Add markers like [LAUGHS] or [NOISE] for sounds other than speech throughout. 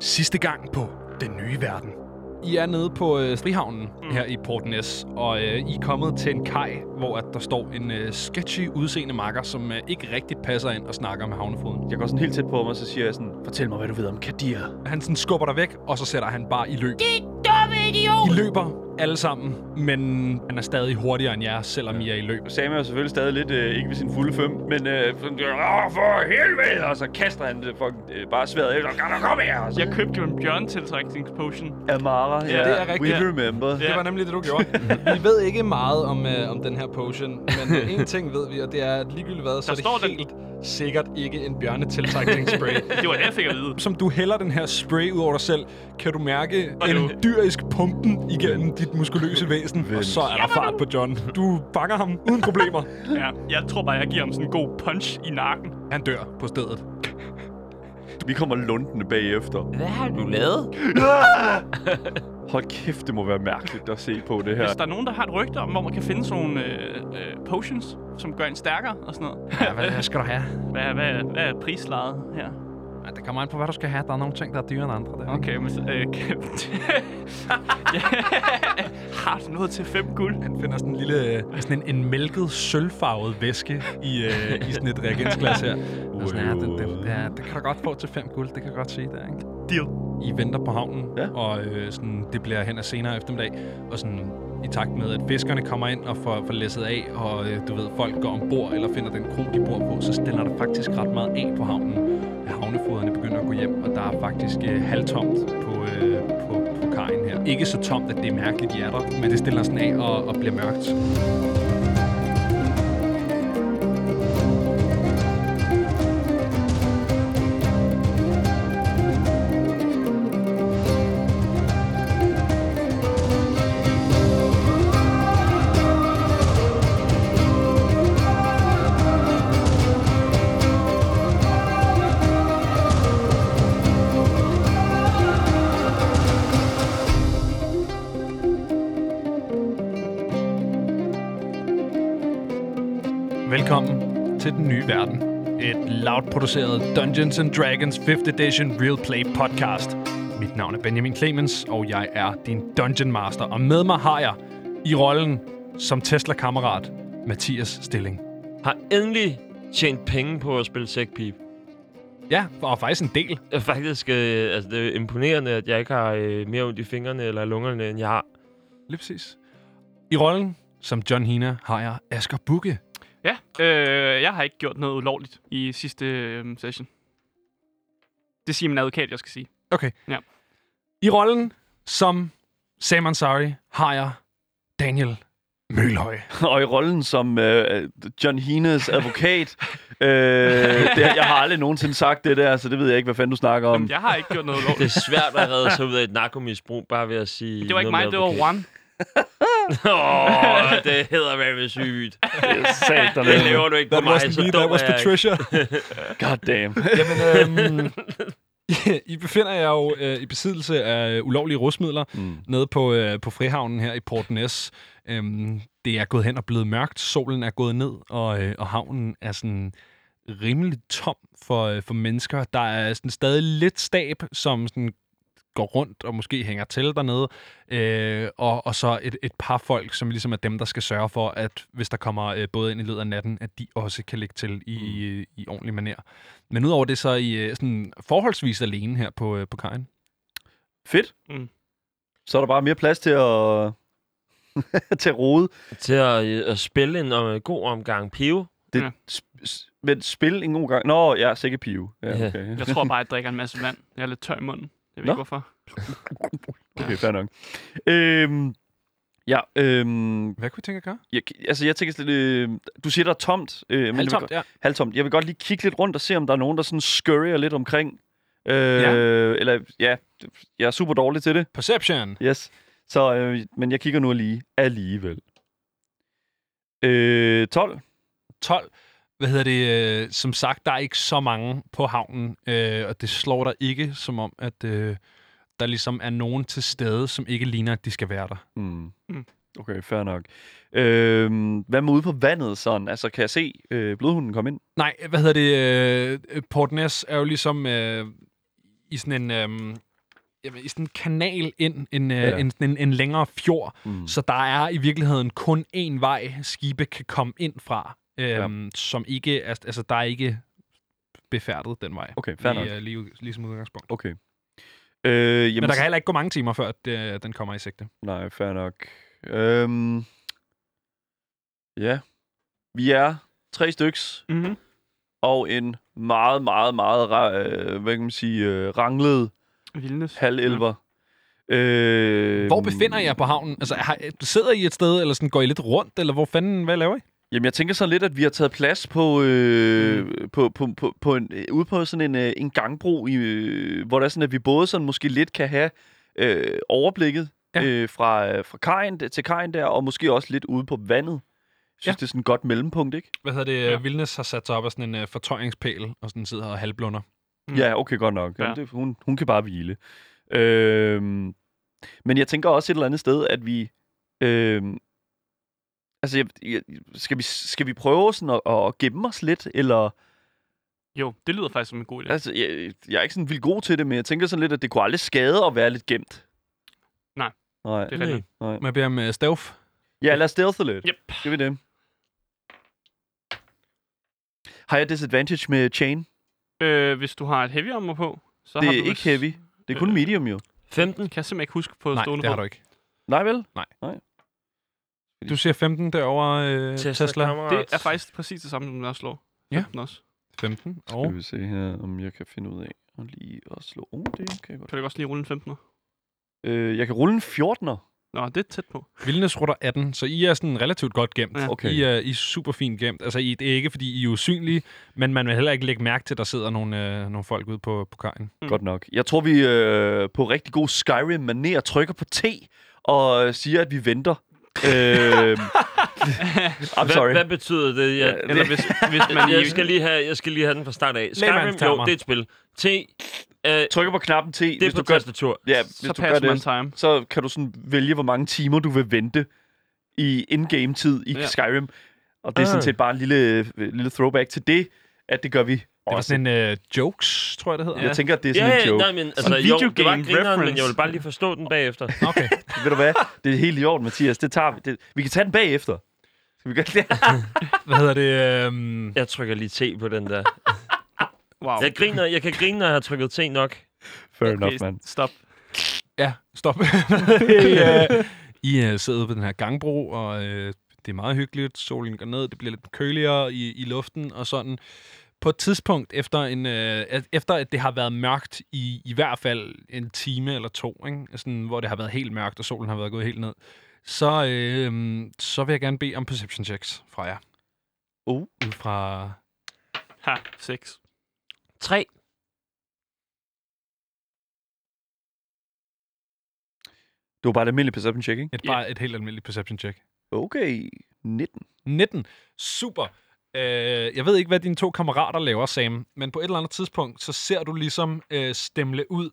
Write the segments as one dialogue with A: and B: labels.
A: Sidste gang på Den Nye Verden.
B: I er nede på øh, Frihavnen mm. her i Port Næs, og øh, I er kommet til en kaj, hvor at der står en øh, sketchy udseende makker, som øh, ikke rigtig passer ind og snakker med havnefruen.
C: Jeg går sådan helt tæt på mig, og så siger jeg sådan, fortæl mig, hvad du ved om Kadir.
B: Han sådan skubber dig væk, og så sætter han bare i løb.
D: Din dumme idiot!
B: I løber alle sammen, men han er stadig hurtigere end jer, selvom I er i løb.
C: Og Sam er jo selvfølgelig stadig lidt, øh, ikke ved sin fulde fem, men øh, sådan, Åh, for helvede! Og så kaster han det fucking øh, bare sværet efter, kan du komme her? Og så,
E: Jeg købte jo en bjørntiltrækningspotion.
C: Amara, ja,
E: det er rigtigt.
C: we remember.
E: Ja.
F: Det var nemlig det, du
B: [LAUGHS]
F: gjorde. vi ved ikke meget om, øh, om den her potion, men øh, en ting ved vi, og det er, at ligegyldigt hvad, så
E: Der
F: er det
E: står den-
F: helt sikkert ikke en bjørnetiltrækningsspray. [LAUGHS]
E: Det var det, jeg fik
B: [LAUGHS]
E: at vide.
B: Som du hælder den her spray ud over dig selv, kan du mærke
E: Og
B: en
E: nu.
B: dyrisk pumpen igennem dit [LAUGHS] muskuløse væsen. Og så er der fart på John. Du fanger ham uden problemer.
E: Ja, jeg tror bare, jeg giver ham sådan en god punch i nakken.
B: [LAUGHS] Han dør på stedet.
C: Vi kommer lundende bagefter.
D: Hvad har du lavet?
C: [LAUGHS] Hold kæft, det må være mærkeligt at se på det her.
E: Hvis der er nogen, der har et rygte om, hvor man kan finde sådan nogle øh, øh, potions, som gør en stærkere og sådan noget.
B: Ja, hvad skal du have?
E: [LAUGHS] Hvad, hvad, hvad er prislaget her?
B: Ja, det kommer an på, hvad du skal have. Der er nogle ting, der er dyrere end andre. Der.
E: Okay, men så, øh, kan... [LAUGHS] Ja. Har du noget til fem guld?
B: Han finder sådan en lille, øh, sådan en, en mælket, sølvfarvet væske i, øh, i sådan et reagensglas [LAUGHS] her. Og sådan, Altså, ja, det, det, ja, det kan du godt få til fem guld, det kan jeg godt se der, ikke?
E: Deal.
B: I venter på havnen, ja.
C: Ja.
B: og øh, sådan, det bliver hen ad senere eftermiddag, og sådan i takt med, at fiskerne kommer ind og får, får læsset af, og øh, du ved, folk går ombord eller finder den krog, de bor på, så stiller der faktisk ret meget af på havnen. Ja, Havnefoderne begynder at gå hjem, og der er faktisk øh, halvtomt på, øh, på, på kajen her. Ikke så tomt, at det er mærkeligt, de er der, men det stiller sådan af og, og bliver mørkt. Velkommen til den nye verden. Et loud-produceret Dungeons and Dragons 5th Edition Real Play podcast. Mit navn er Benjamin Clemens, og jeg er din Dungeon Master. Og med mig har jeg i rollen som Tesla-kammerat Mathias Stilling.
G: Har endelig tjent penge på at spille sækpip.
B: Ja, og faktisk en del.
G: Jeg er faktisk, øh, altså det er imponerende, at jeg ikke har øh, mere ondt i fingrene eller i lungerne, end jeg har.
B: Lige præcis. I rollen som John Hina har jeg Asger Bukke.
E: Ja, øh, jeg har ikke gjort noget ulovligt i sidste øh, session. Det siger min advokat, jeg skal sige.
B: Okay.
E: Ja.
B: I rollen som Sam Ansari har jeg Daniel Mølhøj.
C: Og i rollen som øh, John Hines advokat, øh, det, jeg har aldrig nogensinde sagt det der, så det ved jeg ikke, hvad fanden du snakker
E: [LAUGHS]
C: om.
E: Jamen, jeg har ikke gjort noget
G: Det
E: ulovligt.
G: er svært at redde sig ud af et narkomisbrug, bare ved at sige...
E: Det var ikke mig, det var Juan.
G: Åh, det hedder med sygt.
C: Sat dig
G: [LAUGHS] Det lever du ikke på mig, så dum er jeg ikke.
C: God damn.
B: Jamen, øhm, I [LAUGHS] befinder jer jo øh, i besiddelse af ulovlige rusmidler mm. nede på, øh, på Frihavnen her i Port Næs. Øhm, det er gået hen og blevet mørkt, solen er gået ned, og, øh, og havnen er sådan rimelig tom for, øh, for mennesker. Der er sådan stadig lidt stab, som sådan går rundt og måske hænger til dernede, øh, og, og så et, et par folk, som ligesom er dem, der skal sørge for, at hvis der kommer øh, både ind i løbet af natten, at de også kan lægge til i, i, i ordentlig manér. Men udover det, så er I øh, sådan forholdsvis alene her på, øh, på kajen.
C: Fedt.
E: Mm.
C: Så er der bare mere plads til at, [LAUGHS] til at rode.
G: Til at, øh, at spille en øh, god omgang pive.
C: Det,
E: Ja.
C: ja. sp- s- men spil en god gang. Nå, ja, sikkert pive. Ja,
G: Ja.
C: okay.
E: Jeg tror bare, jeg drikker en masse vand. Jeg er lidt tør i munden. Jeg ved
C: Nå.
E: ikke, hvorfor.
C: Okay, fair nok. Øhm, ja, øhm,
B: Hvad kunne I tænke at gøre?
C: jeg, altså jeg tænker lidt, øh, du siger, der er tomt. Øh, men jeg vil
B: Halvtomt, ja.
C: halvtomt. Jeg vil godt lige kigge lidt rundt og se, om der er nogen, der sådan scurrier lidt omkring. Øh,
B: Ja.
C: ja. Eller, ja, jeg er super dårlig til det.
B: Perception.
C: Yes. Så, øh, men jeg kigger nu lige alligevel. Øh, 12.
B: 12. Hvad hedder det? Øh, som sagt, der er ikke så mange på havnen, øh, og det slår dig ikke som om, at øh, der ligesom er nogen til stede, som ikke ligner, at de skal være der.
C: Mm.
E: Mm.
C: Okay, fair nok. Øh, hvad med ude på vandet sådan? Altså, kan jeg se øh, blodhunden komme ind?
B: Nej, hvad hedder det? Øh, Port Ness er jo ligesom øh, i sådan en... Øh, jamen, i sådan en kanal ind, en, ja. en, en, en længere fjord. Mm. Så der er i virkeligheden kun én vej, skibe kan komme ind fra, øhm, ja. som ikke, er- altså der er ikke befærdet den vej.
C: Okay, fair nok.
B: lige, øh, lige, lige som udgangspunkt.
C: Okay. Øh, jamen,
B: Jamen, Men der kan heller ikke gå mange timer, før at, øh, den kommer i sigte.
C: Nej, fair nok. Øhm, ja. Vi er tre styks
E: Mm-hmm.
C: og en meget, meget, meget, ra- øh, hvad kan man sige, øh, ranglet
E: Vildnes.
C: halvelver. Øh,
B: Hvor befinder jeg på havnen? Altså, har, sidder I et sted, eller sådan, går I lidt rundt, eller hvor fanden, hvad laver I?
C: Jamen, jeg tænker sådan lidt, at vi har taget plads på, øh, mm. på, på, på, på en, øh, ude på sådan en, øh, en gangbro, i, øh, hvor der er sådan, at vi både sådan måske lidt kan have øh, overblikket
B: Ja.
C: ja. øh, fra, øh, fra kajen d- til kajen der, og måske også lidt ude på vandet. Jeg synes,
B: Ja.
C: ja. det er sådan et godt mellempunkt, ikke?
B: Hvad hedder det? Ja. Vilnes har sat sig op af sådan en uh, fortøjningspæl, og sådan sidder og halvblunder.
E: Mm.
C: Ja, okay, godt nok. Jamen,
E: Ja.
C: det, hun, hun kan bare hvile. Øhm, men jeg tænker også et eller andet sted, at vi... Øhm, altså, jeg, jeg, skal, vi, skal vi prøve sådan at, at gemme os lidt, eller...
E: Jo, det lyder faktisk som en god idé.
C: Altså, jeg, jeg er ikke sådan vildt god til det, men jeg tænker sådan lidt, at det kunne aldrig skade at være lidt gemt.
E: Nej.
C: Nej.
E: Det er rigtigt.
C: Nej.
B: Man beder om uh, stealth.
C: Ja, lad os stealthe lidt.
E: Yep.
C: Skal vi det? Har jeg disadvantage med chain?
E: Øh, hvis du har et heavy armor på, så
C: det
E: har
C: er
E: du
C: ikke
E: vist-
C: heavy. Det er kun
E: Øh.
C: medium, jo.
G: 15?
E: Kan jeg simpelthen ikke huske på
B: Nej,
E: stående
B: det har
E: fod.
B: du ikke.
C: Nej vel?
B: Du siger 15 derovre, øh, Tesla. Tesla.
G: kammerat.
E: Det er faktisk præcis det samme, som jeg slår.
B: Ja.
E: 15 også.
B: 15. Og
C: Skal vi se her, om jeg kan finde ud af at lige at slå. Oh, det kan jeg godt.
E: Kan du ikke også lige rulle en 15'er?
C: Øh, jeg kan rulle en 14'er.
E: Nå, det er tæt på.
B: Vilnes rutter 18, så I er sådan relativt godt gemt.
E: Ja.
C: Okay.
B: I, er, I er super fint gemt. Altså, I, det er ikke, fordi I er usynlige, men man vil heller ikke lægge mærke til, at der sidder nogle, øh, nogle folk ude på, på kajen.
E: Mm.
C: Godt nok. Jeg tror, vi øh, på rigtig god Skyrim-manér trykker på T og øh, siger, at vi
E: [LAUGHS]
C: venter. øh, [LAUGHS] I'm sorry.
G: Hvad, hvad betyder det? Jeg,
C: Ja,
E: Eller hvis, hvis
G: [LAUGHS]
E: man
G: jeg, skal lige have, jeg skal lige have den fra start af. Skyrim, jo,
B: Lægmandstermer.
G: det er et spil. T, øh, det
C: Trykker på knappen T,
G: er
C: hvis
G: på
C: du gør,
G: tastatur.
C: ja, hvis
E: så
C: du gør
E: passer man
C: det,
E: time.
C: så kan du sådan vælge, hvor mange timer du vil vente i in-game-tid i
E: Ja.
C: ja. Skyrim. Og det er sådan
G: Ah.
C: set bare en lille, øh, lille throwback til det, at det gør vi
B: Det var
C: også.
B: sådan en øh, jokes, tror jeg, det hedder.
C: Jeg tænker, at det er
G: Ja,
C: sådan en
G: ja,
C: joke.
G: nej, men altså,
E: en
G: jo, det var
E: videogame
G: grineren, men jeg
E: reference.
G: vil bare lige forstå den bagefter.
B: Okay.
C: Ved du hvad? Det er helt i orden, Mathias. Det tager vi. Det, vi kan tage den bagefter. Skal vi gøre det?
B: [LAUGHS] Hvad hedder det? Øhm,
G: Jeg trykker lige T på den der.
E: Wow.
G: Jeg, griner, jeg kan grine, når jeg har trykket T nok.
C: Fair
E: Okay, Stop.
B: Ja, stop. I, øh, I øh, sidder ude på den her gangbro, og øh, det er meget hyggeligt. Solen går ned, det bliver lidt køligere i, i luften og sådan. På et tidspunkt, efter, en, øh, at- efter at det har været mørkt i i hvert fald en time eller to, ikke? Sådan, hvor det har været helt mørkt, og solen har været gået helt ned, så, øh, så vil jeg gerne bede om perception checks fra jer.
C: Oh.
B: Ud fra...
E: Ha, 6.
G: 3.
C: Det var bare et almindeligt perception check, ikke?
B: Et, bare et helt almindeligt perception check.
C: Okay, 19.
B: 19. Super. Øh, jeg ved ikke, hvad dine to kammerater laver, Sam, men på et eller andet tidspunkt, så ser du ligesom øh, stemle ud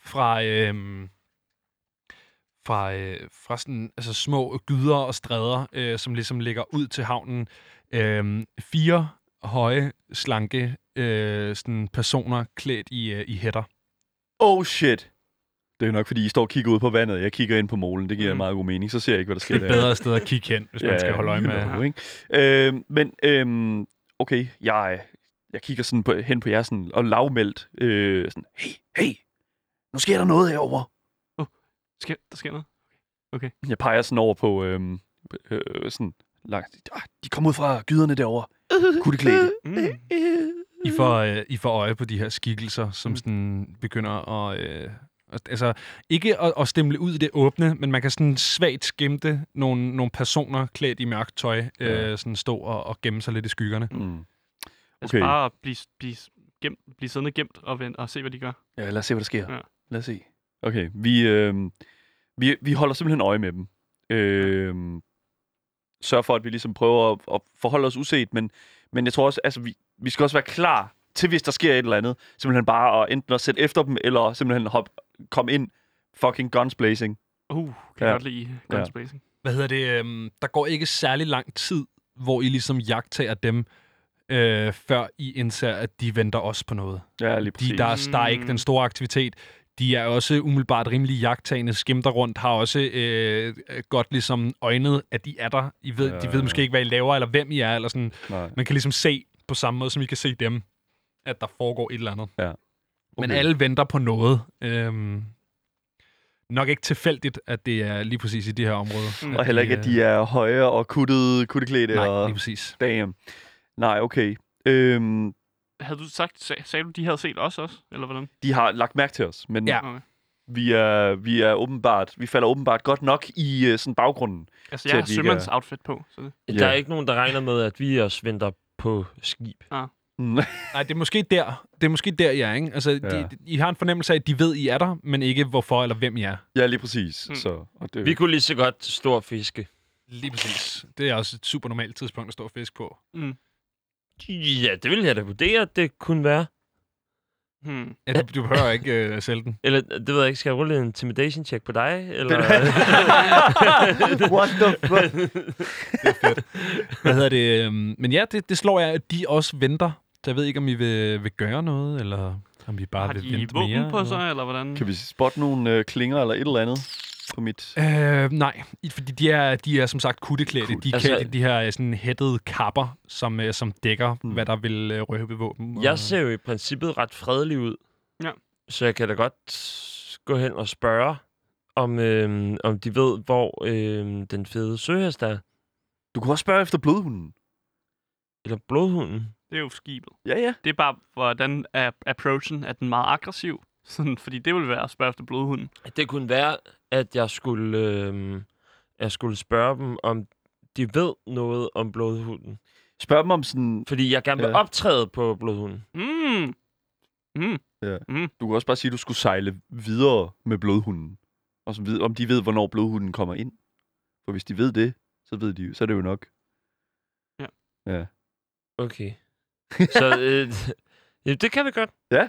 B: fra, øh, fra, øh, fra sådan, altså små gyder og stræder, øh, som ligesom ligger ud til havnen. Øh, fire høje, slanke øh, sådan personer klædt i, øh, i hætter.
C: Oh shit. Det er nok, fordi I står og kigger ud på vandet. Jeg kigger ind på målen. Det giver mm. meget god mening. Så ser jeg ikke, hvad der sker
B: Det er et bedre sted at kigge hen, hvis man skal holde øje
C: you
B: med.
C: know, ikke? Øhm, men øhm, okay, jeg, jeg kigger sådan på, hen på jer sådan, og lavmældt. Øh, sådan, hey, hey, nu sker der noget herovre.
E: Sker, der sker noget?
C: Jeg peger sådan over på, øhm, øh, sådan langt. Ah, de kom ud fra gyderne derovre. Kunne de klæde det?
E: Mm.
B: I får, øh, I får øje på de her skikkelser, som sådan begynder at... Øh, at- altså, ikke at, at stemle ud i det åbne, men man kan sådan svagt skimte nogle, nogle personer klædt i mørkt tøj, øh, sådan stå og, og gemme sig lidt i skyggerne.
C: Mm.
E: Altså
C: Okay.
E: bare blive, blive, gemt, blive siddende gemt og, vent, og se, hvad de gør.
C: Ja, lad os se, hvad der sker.
E: Ja.
C: Ja. Lad os se. Okay, vi, øh, vi, vi holder simpelthen øje med dem. Øh, sørg for, at vi ligesom prøver at, at forholde os uset, men, men jeg tror også, altså, vi, vi skal også være klar til, hvis der sker et eller andet. Simpelthen bare at enten at sætte efter dem, eller simpelthen hop, komme ind fucking guns blazing.
E: Uh, kan ja.
C: Ja.
E: godt lide guns
C: Ja.
E: blazing.
B: Hvad hedder det? Øh, der går ikke særlig lang tid, hvor I ligesom jagter dem, øh, før I indser, at de venter også på noget.
C: Ja, lige
B: De, der, er- der er ikke den store aktivitet. De er også umiddelbart rimelig jagttagende, skimter rundt, har også øh, godt ligesom øjnet, at de er der. I ved, ja, de ved
C: Ja.
B: måske ikke, hvad I laver, eller hvem I er, eller sådan.
C: Nej.
B: Man kan ligesom se på samme måde, som I kan se dem, at der foregår et eller andet. Men
C: Okay.
B: alle venter på noget. Øhm, nok ikke tilfældigt, at det er lige præcis i det her område.
E: Mm.
C: Og heller ikke, at de er høje og kuttede, kutteklædte
B: Nej,
C: og...
B: lige præcis.
C: Damn. Nej, okay. Øhm,
E: Havde du sagt, sag, sagde du, de havde set os også? Eller hvordan?
C: de har lagt mærke til os, men
B: Ja.
E: Okay.
C: vi, er, vi, er åbenbart, vi falder åbenbart godt nok i øh, sådan baggrunden.
E: Altså,
C: Til
E: jeg har
C: at vi ikke
E: sømands
C: er-
E: outfit på. Så det.
G: Der er ikke nogen, der regner med, at vi også venter på skib.
C: Mm. [LAUGHS]
B: Nej, det er måske der, det er måske der, I er, ikke? Altså, ja.
C: Ja.
B: de, I har en fornemmelse af, at de ved, I er der, men ikke hvorfor eller hvem I er.
C: ja, lige præcis.
E: Mm.
C: Så, og det, [LAUGHS]
G: Vi kunne lige så godt stå og fiske.
B: Lige præcis. Det er også et super normalt tidspunkt at stå og fisk på.
G: Ja, det ville jeg da vurdere, at det kunne være.
E: Hmm.
B: Ja, du, du behøver ikke øh, sælge den.
G: Eller, det ved jeg ikke, skal jeg rulle en intimidation check på dig? Eller?
C: What the fuck?
B: Hvad hedder det? øhm, Men ja, det, det slår jeg, at de også venter. Så jeg ved ikke, om I vil, vil gøre noget, eller om I bare
E: Har
B: vil
E: de
B: vente mere.
E: våben på
B: eller
E: sig, eller hvordan?
C: Kan vi spotte nogle øh, klinger eller et eller andet på mit...
B: hvad? Øh, nej, I- fordi de er, de er som sagt kutteklædte.
C: Kut.
B: De er
G: Altså-
B: altså, klædt i de her øh, sådan hættede kapper, som, øh, som dækker,
C: Mm.
B: mm. hvad der vil øh, røbe våben.
G: [LAUGHS] Jeg
B: og-
G: ser jo i princippet ret fredelig ud.
E: Ja.
G: Så jeg kan da godt gå hen og spørge, om, øhm, om de ved, hvor øhm, den fede søhest er.
C: Du kunne også spørge efter blodhunden.
G: Eller blodhunden.
E: Det er jo skibet.
C: Ja, ja.
E: Det er bare, hvordan er approachen? Er den meget aggressiv? Sådan, fordi det ville være at spørge efter blodhunden.
G: Det kunne være, at jeg skulle, øhm, jeg skulle spørge dem, om de ved noget om blodhunden.
C: Spørg dem om sådan...
G: Fordi jeg gerne vil
C: Ja.
G: optræde på blodhunden.
E: Mm. Mm.
C: Du kunne også bare sige, at du skulle sejle videre med blodhunden. Og så vide, om de ved, hvornår blodhunden kommer ind. For hvis de ved det, så ved de jo- så er det jo nok.
G: Okay. Så øh, [LAUGHS] ja, det kan vi godt.
C: Det er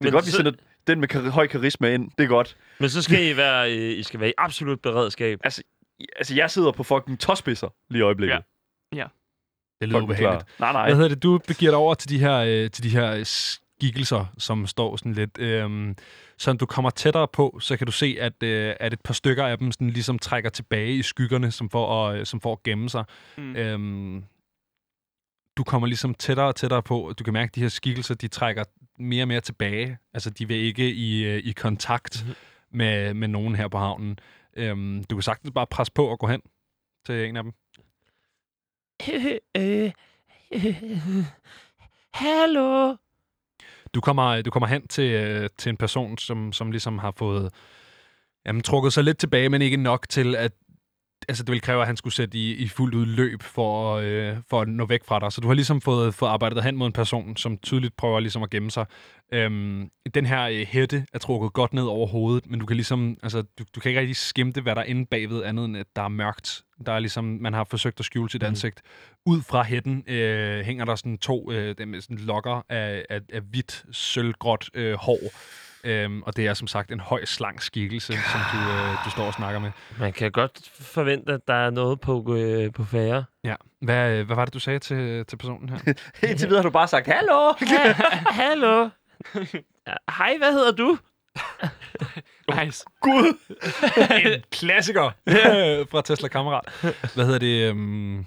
G: Men
C: godt, vi
G: så-
C: sender den med kar- høj karisma ind. Det er godt.
G: Men så skal I være, øh, I skal være i absolut beredskab.
C: Altså, jeg sidder på fucking tåspidser lige i øjeblikket.
E: Ja.
B: det lyder
C: Fucking
B: ubehageligt.
C: klar. Nej, nej.
B: Hvad hedder det? Du begiver dig over til de her, øh, til de her øh, skikkelser, som står sådan lidt... Øh, som du kommer tættere på, så kan du se, at, øh, at et par stykker af dem sådan ligesom trækker tilbage i skyggerne, som for at, øh, som for at gemme sig.
E: Mm.
B: Øhm, du kommer ligesom tættere og tættere på, og du kan mærke, at de her skikkelser, de trækker mere og mere tilbage. Altså, de vil ikke i, øh, i kontakt med, med nogen her på havnen. Øhm, du kan sagtens bare presse på og gå hen til en af dem.
G: Hallo?
B: Du kommer, du kommer hen til, øh, til en person, som, som ligesom har fået jamen, trukket sig lidt tilbage, men ikke nok til, at altså, det ville kræve, at han skulle sætte i, i fuldt ud løb for, at, øh, for at nå væk fra dig. Så du har ligesom fået, fået arbejdet dig hen mod en person, som tydeligt prøver ligesom at gemme sig. Øhm, den her øh, hætte er trukket godt ned over hovedet, men du kan ligesom, altså, du, du kan ikke rigtig skimte, hvad der er inde bagved, andet end at der er mørkt. Der er ligesom, man har forsøgt at skjule sit
G: Mhm.
B: ansigt. Ud fra hætten øh, hænger der sådan to øh, dem med sådan lokker af, af, af hvidt, sølvgråt øh, hår. Øhm, og det er som sagt en høj, slank skikkelse, som du, øh, du står og snakker med.
G: Man kan godt forvente, at der er noget på, øh, på færre.
B: Ja. Hvad, øh, hvad var det, du sagde til, til personen her?
C: Indtil videre har du bare sagt, [LAUGHS] hallo!
G: [LAUGHS] Hallo? Ja, Hej, hvad hedder du?
E: Nice.
B: Gud! en klassiker øh, [LAUGHS] fra Tesla Kammerat. Hvad hedder det? øhm,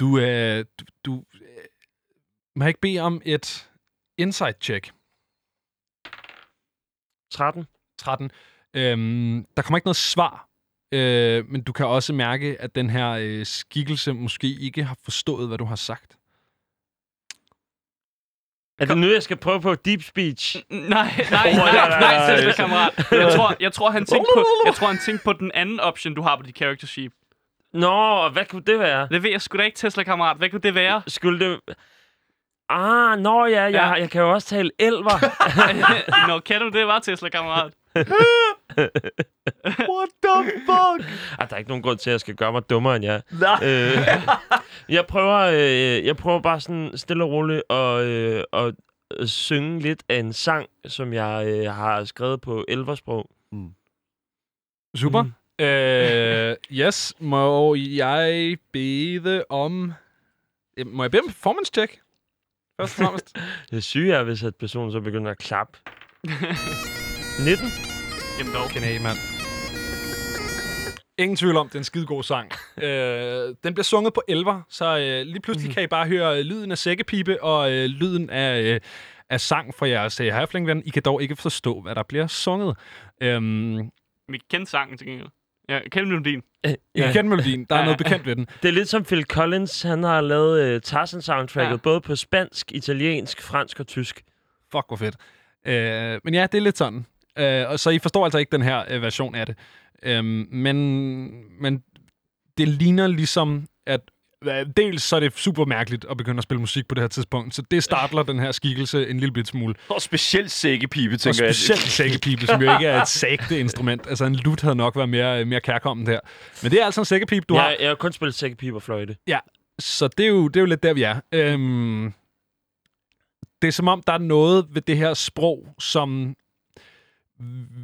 B: Du, øh, du, du øh, må jeg ikke bede om et insight check.
G: 13.
B: 13. Øhm, der kommer ikke noget svar, øh, men du kan også mærke, at den her øh, skikkelse måske ikke har forstået, hvad du har sagt.
G: Er det nu, jeg skal prøve på deep speech?
E: Nej, nej, nej, nej, søster kammerat. Jeg tror, jeg tror, han tænkte på, jeg tror, han tænkte på den anden option, du har på dit character sheet.
G: Nå, og hvad kunne det være?
E: Det ved jeg sgu da ikke, Tesla-kammerat. Hvad kunne det [LAUGHS] være?
G: Skulle det... Ah, nå ja, jeg,
E: Ja.
G: jeg kan jo også tale elver.
E: Nå, kan du det, var Tesla-kammerat?
C: What the fuck?
G: ah, der er ikke nogen grund til, at jeg skal gøre mig dummere end jer.
C: Nej.
G: Øh, jeg, prøver, øh, jeg prøver bare sådan stille og roligt at, øh, at øh, synge lidt af en sang, som jeg øh, har skrevet på elversprog.
B: Super. Mm. Øh, yes, må jeg bede om... Øh, Må jeg bede om performance check? Først og fremmest.
G: Det syge er, hvis at personen så begynder at klappe. 19.
E: Jamen dog.
B: Kan af, mand. Ingen tvivl om, det er en skidegod sang. øh, den bliver sunget på elver, så øh, lige pludselig kan I bare høre øh, lyden af sækkepipe og øh, lyden af, øh, af sang fra jeres øh, halfling I kan dog ikke forstå, hvad der bliver sunget. Øhm,
E: Vi kender sangen til gengæld. Ja, kender melodien.
G: Øh,
B: ja.
G: ja.
B: I kender melodien, der er
E: Ja.
B: noget bekendt ved den.
G: Det er lidt som Phil Collins. Han har lavet øh, Tarzan-soundtracket
E: Ja.
G: ja. både på spansk, italiensk, fransk og tysk.
B: Fuck, hvor fedt. Øh, men ja, det er lidt sådan. Øh, og så I forstår altså ikke den her øh, version af det. Øh, men, men det ligner ligesom, at øh, dels så er det super mærkeligt at begynde at spille musik på det her tidspunkt, så det startler den her skikkelse en lille bit smule.
C: Og specielt sækkepipe,
B: Og
C: tænker
B: specielt sækkepipe, som jo ikke er et sagte instrument. Altså en lut havde nok været mere, øh, mere kærkommen der. Men det er altså en sækkepipe, du
G: Du jeg,
B: har.
G: har... jeg har kun spillet sækkepip og fløjte.
B: Så det er jo, det er jo lidt der, vi er. Øhm, det er som om, der er noget ved det her sprog, som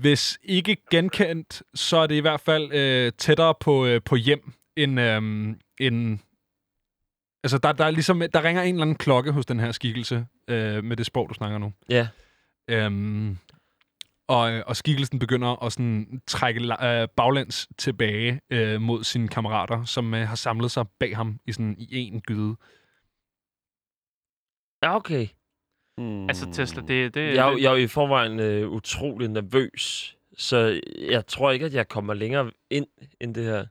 B: hvis ikke genkendt, så er det i hvert fald øh, tættere på, øh, på hjem end, øhm, end... Altså, der, der, er ligesom, der ringer en eller anden klokke hos den her skikkelse øh, med det sprog, du snakker nu.
G: Ja.
B: Øhm, og, øh, og skikkelsen begynder at sådan trække la- øh, baglands tilbage øh, mod sine kammerater, som øh, har samlet sig bag ham i sådan i en gyde.
G: Ja, okay.
C: Mm.
E: Altså Tesla, det, det,
B: Øh,
G: Jeg,
E: det,
G: er jo- jeg er jo i forvejen øh, utrolig nervøs, så jeg tror ikke, at jeg kommer længere ind end det her.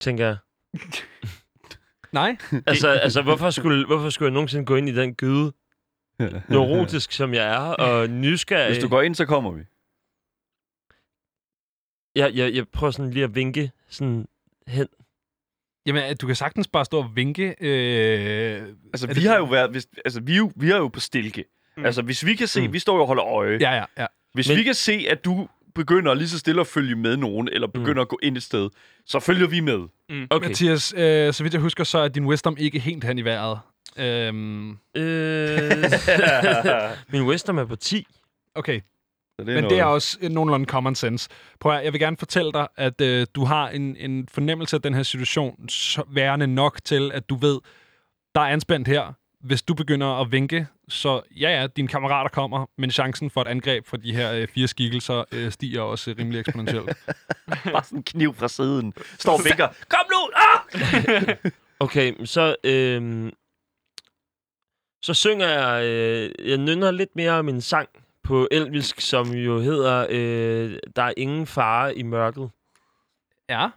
G: Tænker jeg.
B: Nej,
G: Altså, altså hvorfor, skulle, hvorfor skulle jeg nogensinde gå ind i den gyde, neurotisk som jeg er, og nysgerrig?
C: Hvis du går ind, så kommer vi.
G: jeg, jeg, jeg prøver sådan lige at vinke sådan hen.
B: jamen øh, du kan sagtens bare stå og vinke. Øh,
C: Altså,
B: Er
C: vi
B: det-
C: har jo været... Hvis, altså, vi, er jo, vi er jo på stilke.
E: Mm.
C: Mm. Altså, hvis vi kan se...
G: Mm.
C: Mm. Vi står jo og holder øje.
B: ja, ja, ja.
C: Hvis
G: Men-
C: Men... vi kan se, at du begynder lige så stille at følge med nogen, eller begynder mm. at gå ind et sted, så følger vi med.
E: Mm.
B: Okay. Mathias, øh, så vidt jeg husker, så er din wisdom ikke helt hen i vejret. Øhm,
C: [LAUGHS]
G: Øh, min Western er på 10.
B: okay,
C: Så det
B: men det er også øh, nogenlunde common sense. Prøv at, høre, jeg vil gerne fortælle dig, at øh, du har en, en fornemmelse af den her situation så- værende nok til, at du ved, der er anspændt her. Hvis du begynder at vinke, så ja, ja, dine kammerater kommer, men chancen for et angreb fra de her øh, fire skikkelser øh, stiger også øh, rimelig [LAUGHS] eksponentielt.
C: [LAUGHS] bare sådan en kniv fra siden. Står og
B: [LAUGHS]
C: vinker. Kom nu! Ah!
G: Okay, men så... Øh, så synger jeg... Øh, jeg nynner lidt mere min sang på elvisk, som jo hedder øh, Der er ingen fare i mørket.
B: ja,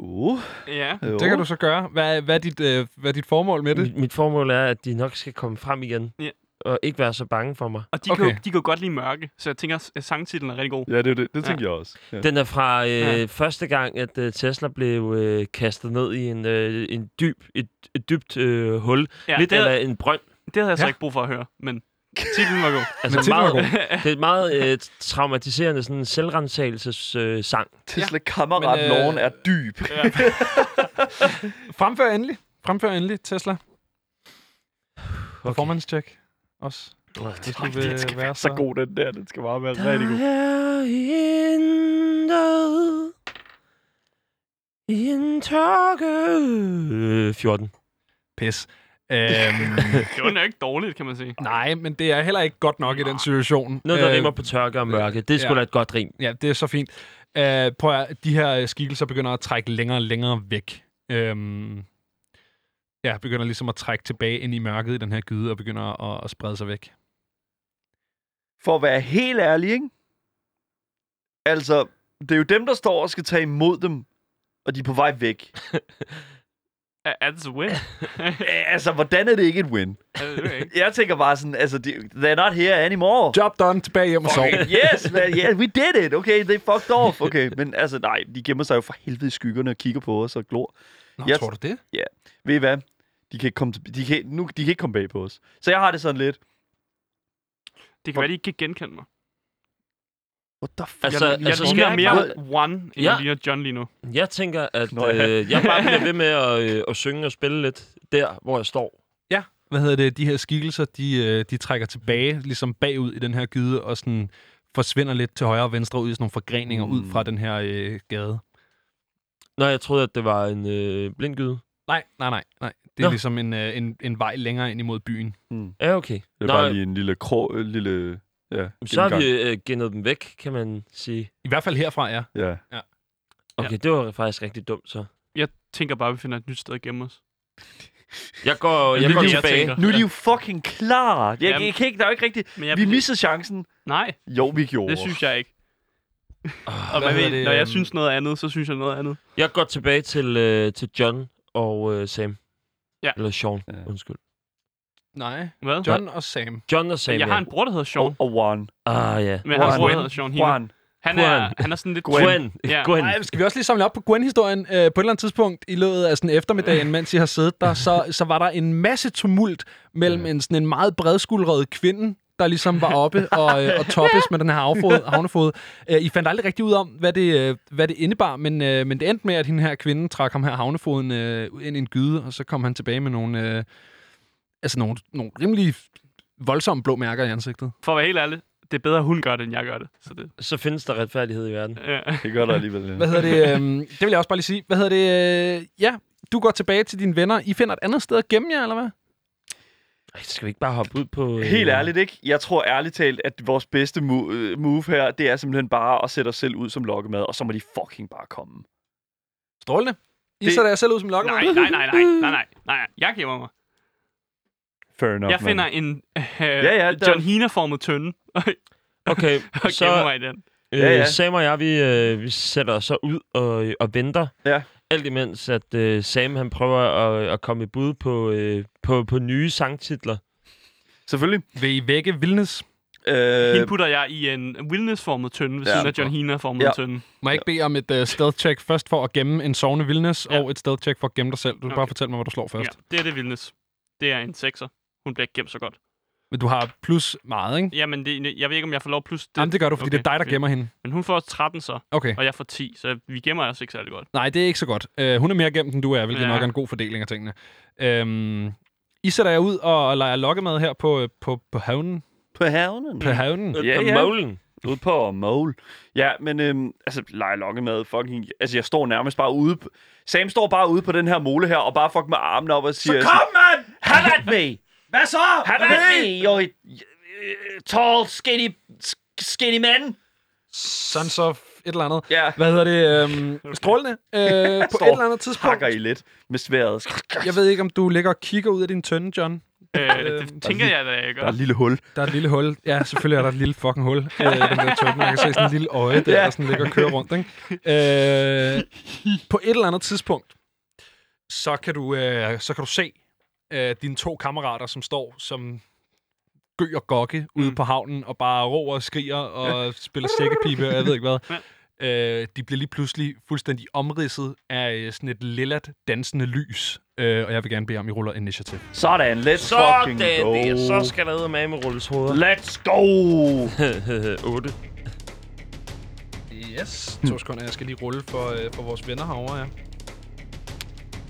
C: Uh,
E: Ja.
C: jo.
B: det kan du så gøre. Hvad, hvad, er, dit, øh, hvad er dit formål med det?
G: Mit, mit formål er, at de nok skal komme frem igen.
E: Ja.
G: Og ikke være så bange for mig.
E: Og de, okay. kan,
B: Okay.
E: jo- de kan jo godt lide mørke, så jeg tænker, at sangtitlen er rigtig god.
C: Ja, det, er det, det tænkte ja. jeg også. Ja.
G: Den er fra øh,
E: Ja.
G: ja. første gang, at øh, Tesla blev øh, kastet ned i en, øh, en dyb, et, et dybt øh, hul.
E: Ja,
G: Ja, lidt
E: det,
G: eller
E: havde,
G: en brønd.
E: det havde jeg så
B: Ja.
E: ikke brug for at høre, men titlen var god.
G: Altså
B: titlen var
G: meget, det er et meget øh, traumatiserende sådan selvrensagelsessang. Øh, sang.
C: Tesla
B: Men,
C: kammerat
B: øh,
C: Loren er dyb.
B: Fremfør endelig. Fremfør endelig, Tesla. Performance check også. Hvis du vil
C: Den skal
B: være
C: være så Ah.
B: så-
C: god, den der. Den skal bare være rigtig god.
G: er intet i en tørke. 14.
B: Pis.
G: [LAUGHS]
B: Øhm,
E: Det var nok ikke dårligt, kan man sige.
B: nej, men det er heller ikke godt nok i den situation.
G: Noget, der
B: Øh,
G: øh, rimer på tørke og mørke. Det er sgu
B: ja.
G: da et godt rim.
B: Ja, det er så fint. Øh, prøv at, høre, de her øh, skikkelser begynder at trække længere og længere væk. Øhm, ja, begynder ligesom at trække tilbage ind i mørket i den her gyde, og begynder at, at sprede sig væk.
C: For at være helt ærlig, ikke? Altså, det er jo dem, der står og skal tage imod dem, og de er på vej væk. [LAUGHS]
E: Er- Er det så win?
C: Øh, altså, hvordan er det ikke et win?
E: Er det ikke?
C: Jeg tænker bare sådan, altså, de- they're not here anymore.
B: Job done, tilbage hjem og sov.
C: Okay, [LAUGHS] yes, man, yeah, we did it. Okay, they fucked off. Okay, men altså, nej, de gemmer sig jo for helvede i skyggerne og kigger på os og glor.
B: Nå,
C: Jeg-
B: tror du det?
C: Ved I hvad? De kan ikke komme, til- de kan, nu, de kan ikke komme bag på os. Så jeg har det sådan lidt.
E: Det kan være, de ikke kan genkende mig.
C: What the fuck?
G: Altså,
C: Jeg- jeg-
E: Jeg
G: altså,
C: jeg-
G: skal
E: ligner
G: jeg
E: mere
G: ikke
E: One, end
G: Ja.
E: jeg ligner John lige nu.
G: Jeg tænker, at
C: Nå, ja.
G: øh, jeg bare bliver ved med at, øh, at synge og spille lidt der, hvor jeg står.
B: hvad hedder det, de her skikkelser, de, øh, de trækker tilbage, ligesom bagud i den her gyde, og sådan forsvinder lidt til højre og venstre ud i sådan nogle forgreninger mm. ud fra den her øh, gade.
G: Nå, jeg troede, at det var en øh, blindgyde.
B: Nej, nej, nej, nej. Det er
G: Nå.
B: ligesom en, øh, en, en vej længere ind imod byen.
G: Ja, okay.
C: Det er
G: Nå,
C: bare lige en lille krog, øh, lille... Ja,
G: så har
C: gennemgang.
G: vi øh, gennet dem væk, kan man sige.
B: I hvert fald herfra, ja.
C: Ja.
G: Okay, ja. det var faktisk rigtig dumt, så.
E: Jeg tænker bare, at vi finder et nyt sted at gemme os.
G: Jeg går, jeg
E: det
G: går
E: er det, jeg
G: tilbage.
E: tænker.
C: Nu er de jo fucking klar. Jeg, jeg,
E: Jamen.
C: jeg kan ikke, der er jo ikke rigtigt...
E: Men jeg,
C: Vi missede chancen.
E: Nej,
C: Jo, vi gjorde.
E: det synes jeg ikke.
G: Ah,
E: Og man ved,
B: hedder det,
E: når jeg
B: øhm,
E: synes noget andet, så synes jeg noget andet.
G: Jeg går tilbage til, øh, til John og øh, Sam.
E: Ja.
G: Eller Sean,
C: Ja.
G: undskyld.
B: Nej.
E: Hvad?
B: John og Sam.
G: John og Sam,
E: jeg har
G: ja.
E: en bror, der hedder Sean.
C: Og, og Juan.
G: Ah, ja.
E: Men han har en bror, der
C: Juan.
E: hedder Sean Hino.
C: Juan.
E: Han er,
G: Juan.
E: han er sådan lidt...
G: Gwen. Gwen.
E: Ja.
G: [LAUGHS] Gwen.
B: Ej, skal vi også lige samle op på Gwen-historien? Øh, på et eller andet tidspunkt i løbet af sådan eftermiddagen, mens I har siddet der, så, så var der en masse tumult mellem en, sådan en meget bredskuldret kvinde, der ligesom var oppe og, øh, og toppes med den her havfod, havnefod. Øh, I fandt aldrig rigtig ud om, hvad det, øh, hvad det indebar, men, øh, men det endte med, at hende her kvinde trak ham her havnefoden øh, ind i en gyde, og så kom han tilbage med nogle, øh, altså nogle, nogle rimelig voldsomme blå mærker i ansigtet.
E: For at være helt ærlig, det er bedre, at hun gør det, end jeg gør det. Så
G: [LAUGHS]
E: det Øh,
G: Så findes der retfærdighed i verden.
E: ja.
C: Det gør der alligevel. ja.
B: Hvad hedder det? Øhm, det vil jeg også bare lige sige. Hvad hedder det? Øh, ja, du går tilbage til dine venner. I finder et andet sted at gemme jer, eller hvad?
G: Ej, skal vi ikke bare hoppe ud på... øh,
C: Helt ærligt, ikke? Jeg tror ærligt talt, at vores bedste mo- øh, move her, det er simpelthen bare at sætte os selv ud som lokkemad, og så må de fucking bare komme.
B: Strålende. I det...
C: Det-
B: sætter jer selv ud som
E: Nej,
B: lokkemad.
E: nej, nej, nej, nej, nej, nej. Jeg giver mig.
C: Fair enough,
E: Jeg finder en øh,
C: ja, der-
E: John Hina-formet tønde
C: [LAUGHS]
G: Okay,
E: og
G: så
E: gemmer mig i den.
G: øh,
C: Ja, ja.
G: Sam og jeg, vi, øh, vi sætter os så ud og, øh, og venter.
C: Ja.
G: Alt imens, at øh, Sam han prøver at, at komme i bud på, øh, på, på nye sangtitler.
C: Selvfølgelig.
B: Vil I vække vildnes?
E: Hende
C: Øh,
E: putter jeg i en Wilness-formet tønde ved
C: Ja.
E: siden af John Hina-formet
C: Ja.
E: tønde.
B: Må jeg ikke bede om et uh, stealth check først for at gemme en sovende vildnes,
E: Ja.
B: ja. og et stealth check for at gemme dig selv. Du kan okay. bare
E: Okay.
B: fortælle mig, hvad du slår først. Ja.
E: Ja, det er det Wilness. Det er en sekser. Hun bliver ikke gemt så godt.
B: Men du har plus meget, ikke?
E: Jamen, det, jeg ved ikke, om jeg får lov plus det.
B: Det... Jamen, det gør du, fordi okay.
E: okay,
B: det er dig, der
E: fint.
B: gemmer hende.
E: Men hun får 13 så,
B: Okay.
E: og jeg får 10, så vi gemmer os ikke særlig godt.
B: Nej, det er ikke så godt. Uh, hun er mere gemt, end du er, hvilket ja.
E: Ja.
B: nok er en god fordeling af tingene. Øhm, I sætter jer ud og leger lokkemad her på, øh, på, på havnen.
C: på havnen.
B: På havnen.
G: Øh,
C: Ja,
G: på
C: ja.
G: Målen.
C: Ude på mål. Ja, men øhm, altså, lege lokkemad, fucking... Altså, jeg står nærmest bare ude... På, Sam står bare ude på den her mole her, og bare fucking med armene op og siger... Så kom, mand! Have at me! Hvad så? Have at me, you øh, tall, skinny, sk- skinny man!
B: Sons of et eller andet.
C: Ja,
B: Hvad hedder det? Øhm, strålende.
C: [LAUGHS]
B: Øh, på et
C: står
B: eller andet tidspunkt.
C: pakker I lidt med sværet.
B: Jeg ved ikke, om du ligger og kigger ud af din tønde, John. [LAUGHS]
E: Øh,
B: Øhm.
E: det tænker jeg da, jeg
C: Altså, Der er
E: gør.
C: et lille hul.
B: Der er et lille hul. Ja, selvfølgelig er der et lille fucking hul. Øh, den der tønde. Man kan se sådan en lille øje der,
C: Ja.
B: der sådan ligger og kører rundt. Ikke? Øh, på et eller andet tidspunkt, så kan du, øh, så kan du se øh, dine to kammerater, som står som gø og gokke ude
E: Mm.
B: på havnen og bare råber og skriger og spiller sækkepipe og jeg ved ikke hvad. Øh, de bliver lige pludselig fuldstændig omridset af øh, sådan et lillat dansende lys. Øh, og jeg vil gerne bede om, I ruller initiativ.
C: Sådan, let's
G: Sådan
C: fucking go.
G: der, så skal der med med rulles hoveder.
C: Let's go!
G: [LAUGHS] 8.
B: Yes.
E: Hmm.
B: To sekunder, jeg skal lige rulle for, øh, for vores venner herovre, ja.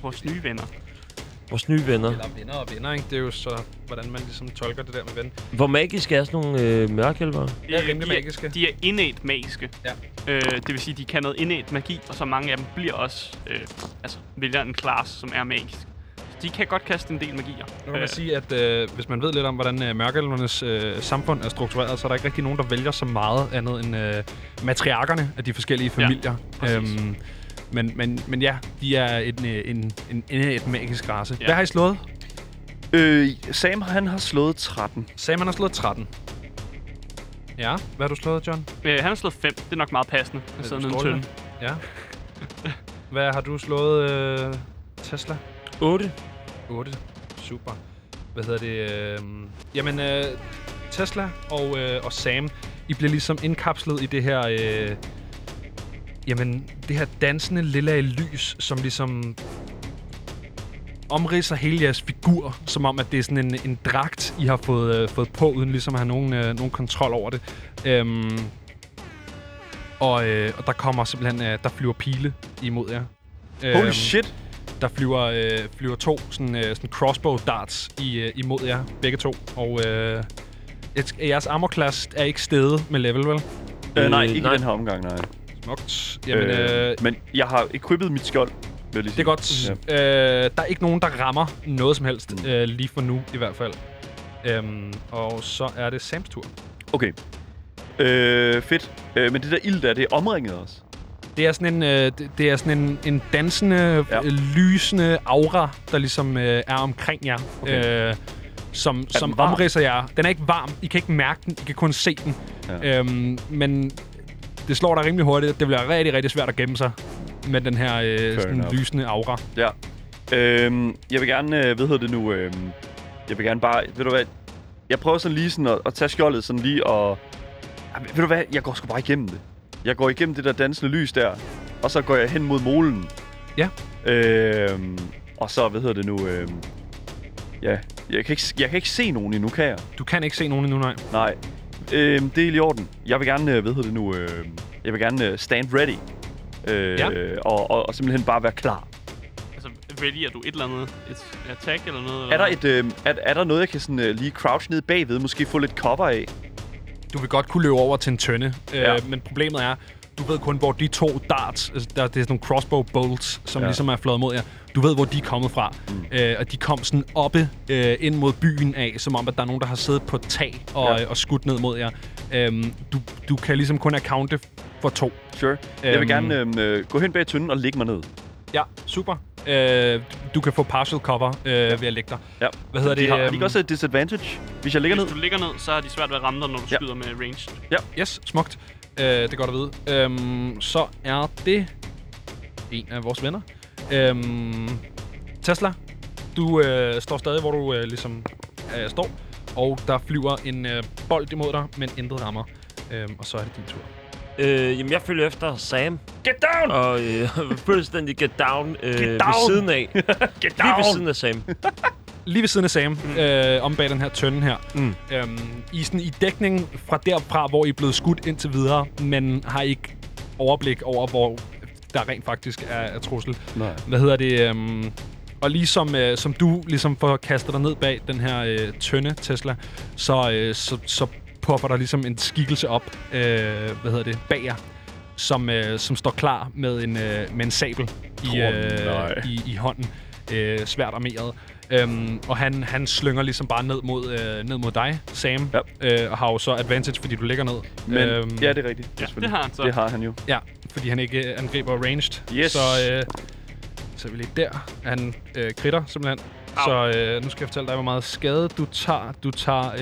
E: Vores nye venner.
G: Vores nye venner.
B: Eller venner og venner, ikke? Det er jo så, hvordan man ligesom tolker det der med ven.
G: Hvor magiske er sådan nogle øh, mørkhjælpere?
E: De
B: er rimelig
E: de
B: magiske.
E: De er innate magiske.
B: Ja.
E: Øh, det vil sige, de kan noget innate magi, og så mange af dem bliver også, øh, altså, vælger en klasse, som er magisk. Så de kan godt kaste en del magier.
B: Nu kan man sige, at øh, hvis man ved lidt om, hvordan øh, mørkældernes øh, samfund er struktureret, så er der ikke rigtig nogen, der vælger så meget andet end øh, matriarkerne af de forskellige familier. Øhm,
E: præcis.
B: men, men, men ja, de er en, øh, en, en, en, et magisk race. Ja.
E: Ja.
B: Hvad har I slået?
C: Øh, Sam, han har slået 13.
B: Sagde man har slået 13. Ja, hvad har du slået, John?
E: Øh, han har slået 5. Det er nok meget passende. Han sidder nede i en
B: Strålende.
E: tønde.
B: Ja. Hvad har du slået, øh, Tesla?
G: 8.
B: 8. Super. Hvad hedder det? Øh... Jamen, øh, Tesla og, øh, og Sam, I bliver ligesom indkapslet i det her... Øh... Jamen, det her dansende lilla lys, som ligesom omridser hele jeres figur, som om, at det er sådan en, en dragt, I har fået, øh, fået på, uden ligesom at have nogen, øh, nogen kontrol over det. Øhm, og, øh, og der kommer simpelthen, øh, der flyver pile imod jer.
C: Holy
B: Øhm,
C: shit!
B: der flyver, øh, flyver to sådan, øh, sådan crossbow darts i, øh, imod jer, begge to. Og øh, et, jeres armor class er ikke steget med level, vel?
C: Øh, nej,
G: øh,
C: ikke
G: nej.
C: nej. den her omgang, nej.
B: Smukt. Jamen, øh, øh,
C: men jeg har equippet mit skjold vil jeg lige
B: Det er godt. Ja. Øh, der er ikke nogen, der rammer noget som helst, mm. øh, lige for nu i hvert fald. Øhm, og så er det Sams tur.
C: Okay. Øh, fedt. Øh, men det der ild der, det er omringet også.
B: Det er sådan en, øh, det- det er sådan en, en dansende,
C: Ja.
B: ja. lysende aura, der ligesom øh, er omkring jer. Okay. Øh, som, som
C: varm?
B: omridser jer. Den er ikke varm. I kan ikke mærke den. I kan kun se den.
C: Ja.
B: Ja. Øhm, men det slår dig rimelig hurtigt. Det bliver rigtig, rigtig svært at gemme sig med den her øh, sådan
C: enough.
B: lysende aura.
C: Ja. Øhm, jeg vil gerne, øh, hvad hedder det nu, øhm, jeg vil gerne bare, ved du hvad, jeg prøver sådan lige sådan at, at tage skjoldet sådan lige og, Ej, ved du hvad, jeg går sgu bare igennem det. Jeg går igennem det der dansende lys der, og så går jeg hen mod molen.
B: Ja.
C: Øhm, og så, hvad hedder det nu, øhm, ja, jeg kan, ikke, jeg kan ikke se nogen endnu, kan jeg?
B: Du kan ikke se nogen endnu, nej.
C: Nej. Øhm, det er i orden. Jeg vil gerne, øh, hvad hedder det nu, øhm, jeg vil gerne øh, stand ready. Øh,
B: Ja.
C: og, og, og simpelthen bare være klar.
E: Altså, vælger du et eller andet? Et attack eller noget?
C: Er der,
E: eller?
C: et, øh, er, er der noget, jeg kan sådan, øh, lige crouch ned bagved, måske få lidt cover af?
B: Du vil godt kunne løbe over til en tønde, øh,
C: Ja.
B: ja. men problemet er, du ved kun, hvor de to darts, altså der, det er sådan nogle crossbow bolts, som
C: Ja.
B: ja. ligesom er flået mod jer, du ved, hvor de er kommet fra. Mm. Øh, og de kom sådan oppe øh, ind mod byen af, som om, at der er nogen, der har siddet på et tag og,
C: Ja.
B: ja. og skudt ned mod jer. Øhm, du, du kan ligesom kun accounte for to.
C: Sure. Jeg vil
B: Øhm.
C: gerne øhm, øh, gå hen bag tynden og lægge mig ned.
B: Ja, super. Øh, du kan få partial cover øh, ved at lægge dig.
C: Ja.
B: Hvad hedder
C: de
B: det,
C: Har, har de
B: øhm,
C: ikke også et disadvantage, hvis jeg ligger ned?
E: Hvis du ligger ned, så har de svært ved at ramme dig, når du
C: Ja.
E: ja. skyder med range.
B: Yes, smukt. Øh, det er godt at vide. Øhm, så er det en af vores venner. Øhm, Tesla, du øh, står stadig, hvor du øh, ligesom øh, står, og der flyver en øh, bold imod dig, men intet rammer. Øhm, og så er det din tur.
G: Øh, jamen, jeg følger efter Sam.
C: Get down!
G: Og øh, [LAUGHS] fuldstændig get down, øh, get down. ved
C: down!
G: siden af.
C: Get
G: Lige
C: down!
G: ved siden af Sam.
B: Lige ved siden af Sam, mm. øh, om bag den her tønde her. Mm. Øhm, I, er sådan, I dækning fra derfra, hvor I er blevet skudt indtil videre, men har ikke overblik over, hvor der rent faktisk er, er trussel.
C: Nej.
B: hvad hedder det, øhm, og ligesom, øh, som du ligesom får kastet dig ned bag den her øh, tynde Tesla, så, øh, så, så popper der ligesom en skikkelse op, øh, hvad hedder det, bag jer, som, øh, som står klar med en, øh, med en sabel i,
C: Åh, nej.
B: øh, i, i hånden, øh, svært armeret. Øhm, og han, han slynger ligesom bare ned mod, øh, ned mod dig, Sam, ja. øh, og har jo så advantage, fordi du ligger ned.
C: Men, øhm, ja, det er rigtigt.
E: Ja,
C: selvfølgelig.
E: det har han så.
C: Det har han jo.
B: Ja, fordi han ikke øh, angriber ranged.
C: Yes.
B: Så, øh, så er vi lige der. Han øh, kritter simpelthen.
E: Au.
B: Så øh, nu skal jeg fortælle dig, hvor meget skade du tager. Du tager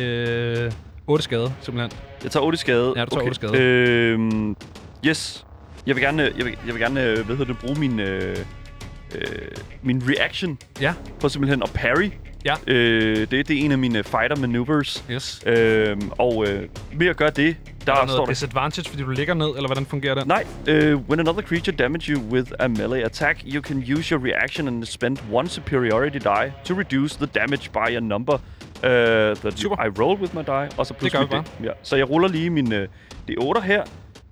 B: øh, 8 skade, simpelthen.
C: Jeg tager 8 skade.
B: Ja, du tager otte skade.
C: Øhm, yes. Jeg vil gerne, øh, jeg vil, jeg vil gerne øh, hvad hedder det, bruge min, øh, øh, min reaction
B: Ja,
C: på simpelthen at parry.
B: Ja.
C: Øh, det, det er en af mine fighter maneuvers.
B: yes.
C: Øhm, og øh, ved at gøre det, der,
B: Er der
C: der står
B: noget
C: der...
B: disadvantage, fordi du ligger ned, eller hvordan fungerer det?
C: Nej, uh, when another creature damages you with a melee attack, you can use your reaction and spend one superiority die to reduce the damage by a number uh, that you,
B: Super.
C: I roll with my die. Og så plus
B: gør
C: mit
B: vi
C: D. Ja. Så jeg ruller lige min uh, D8 her,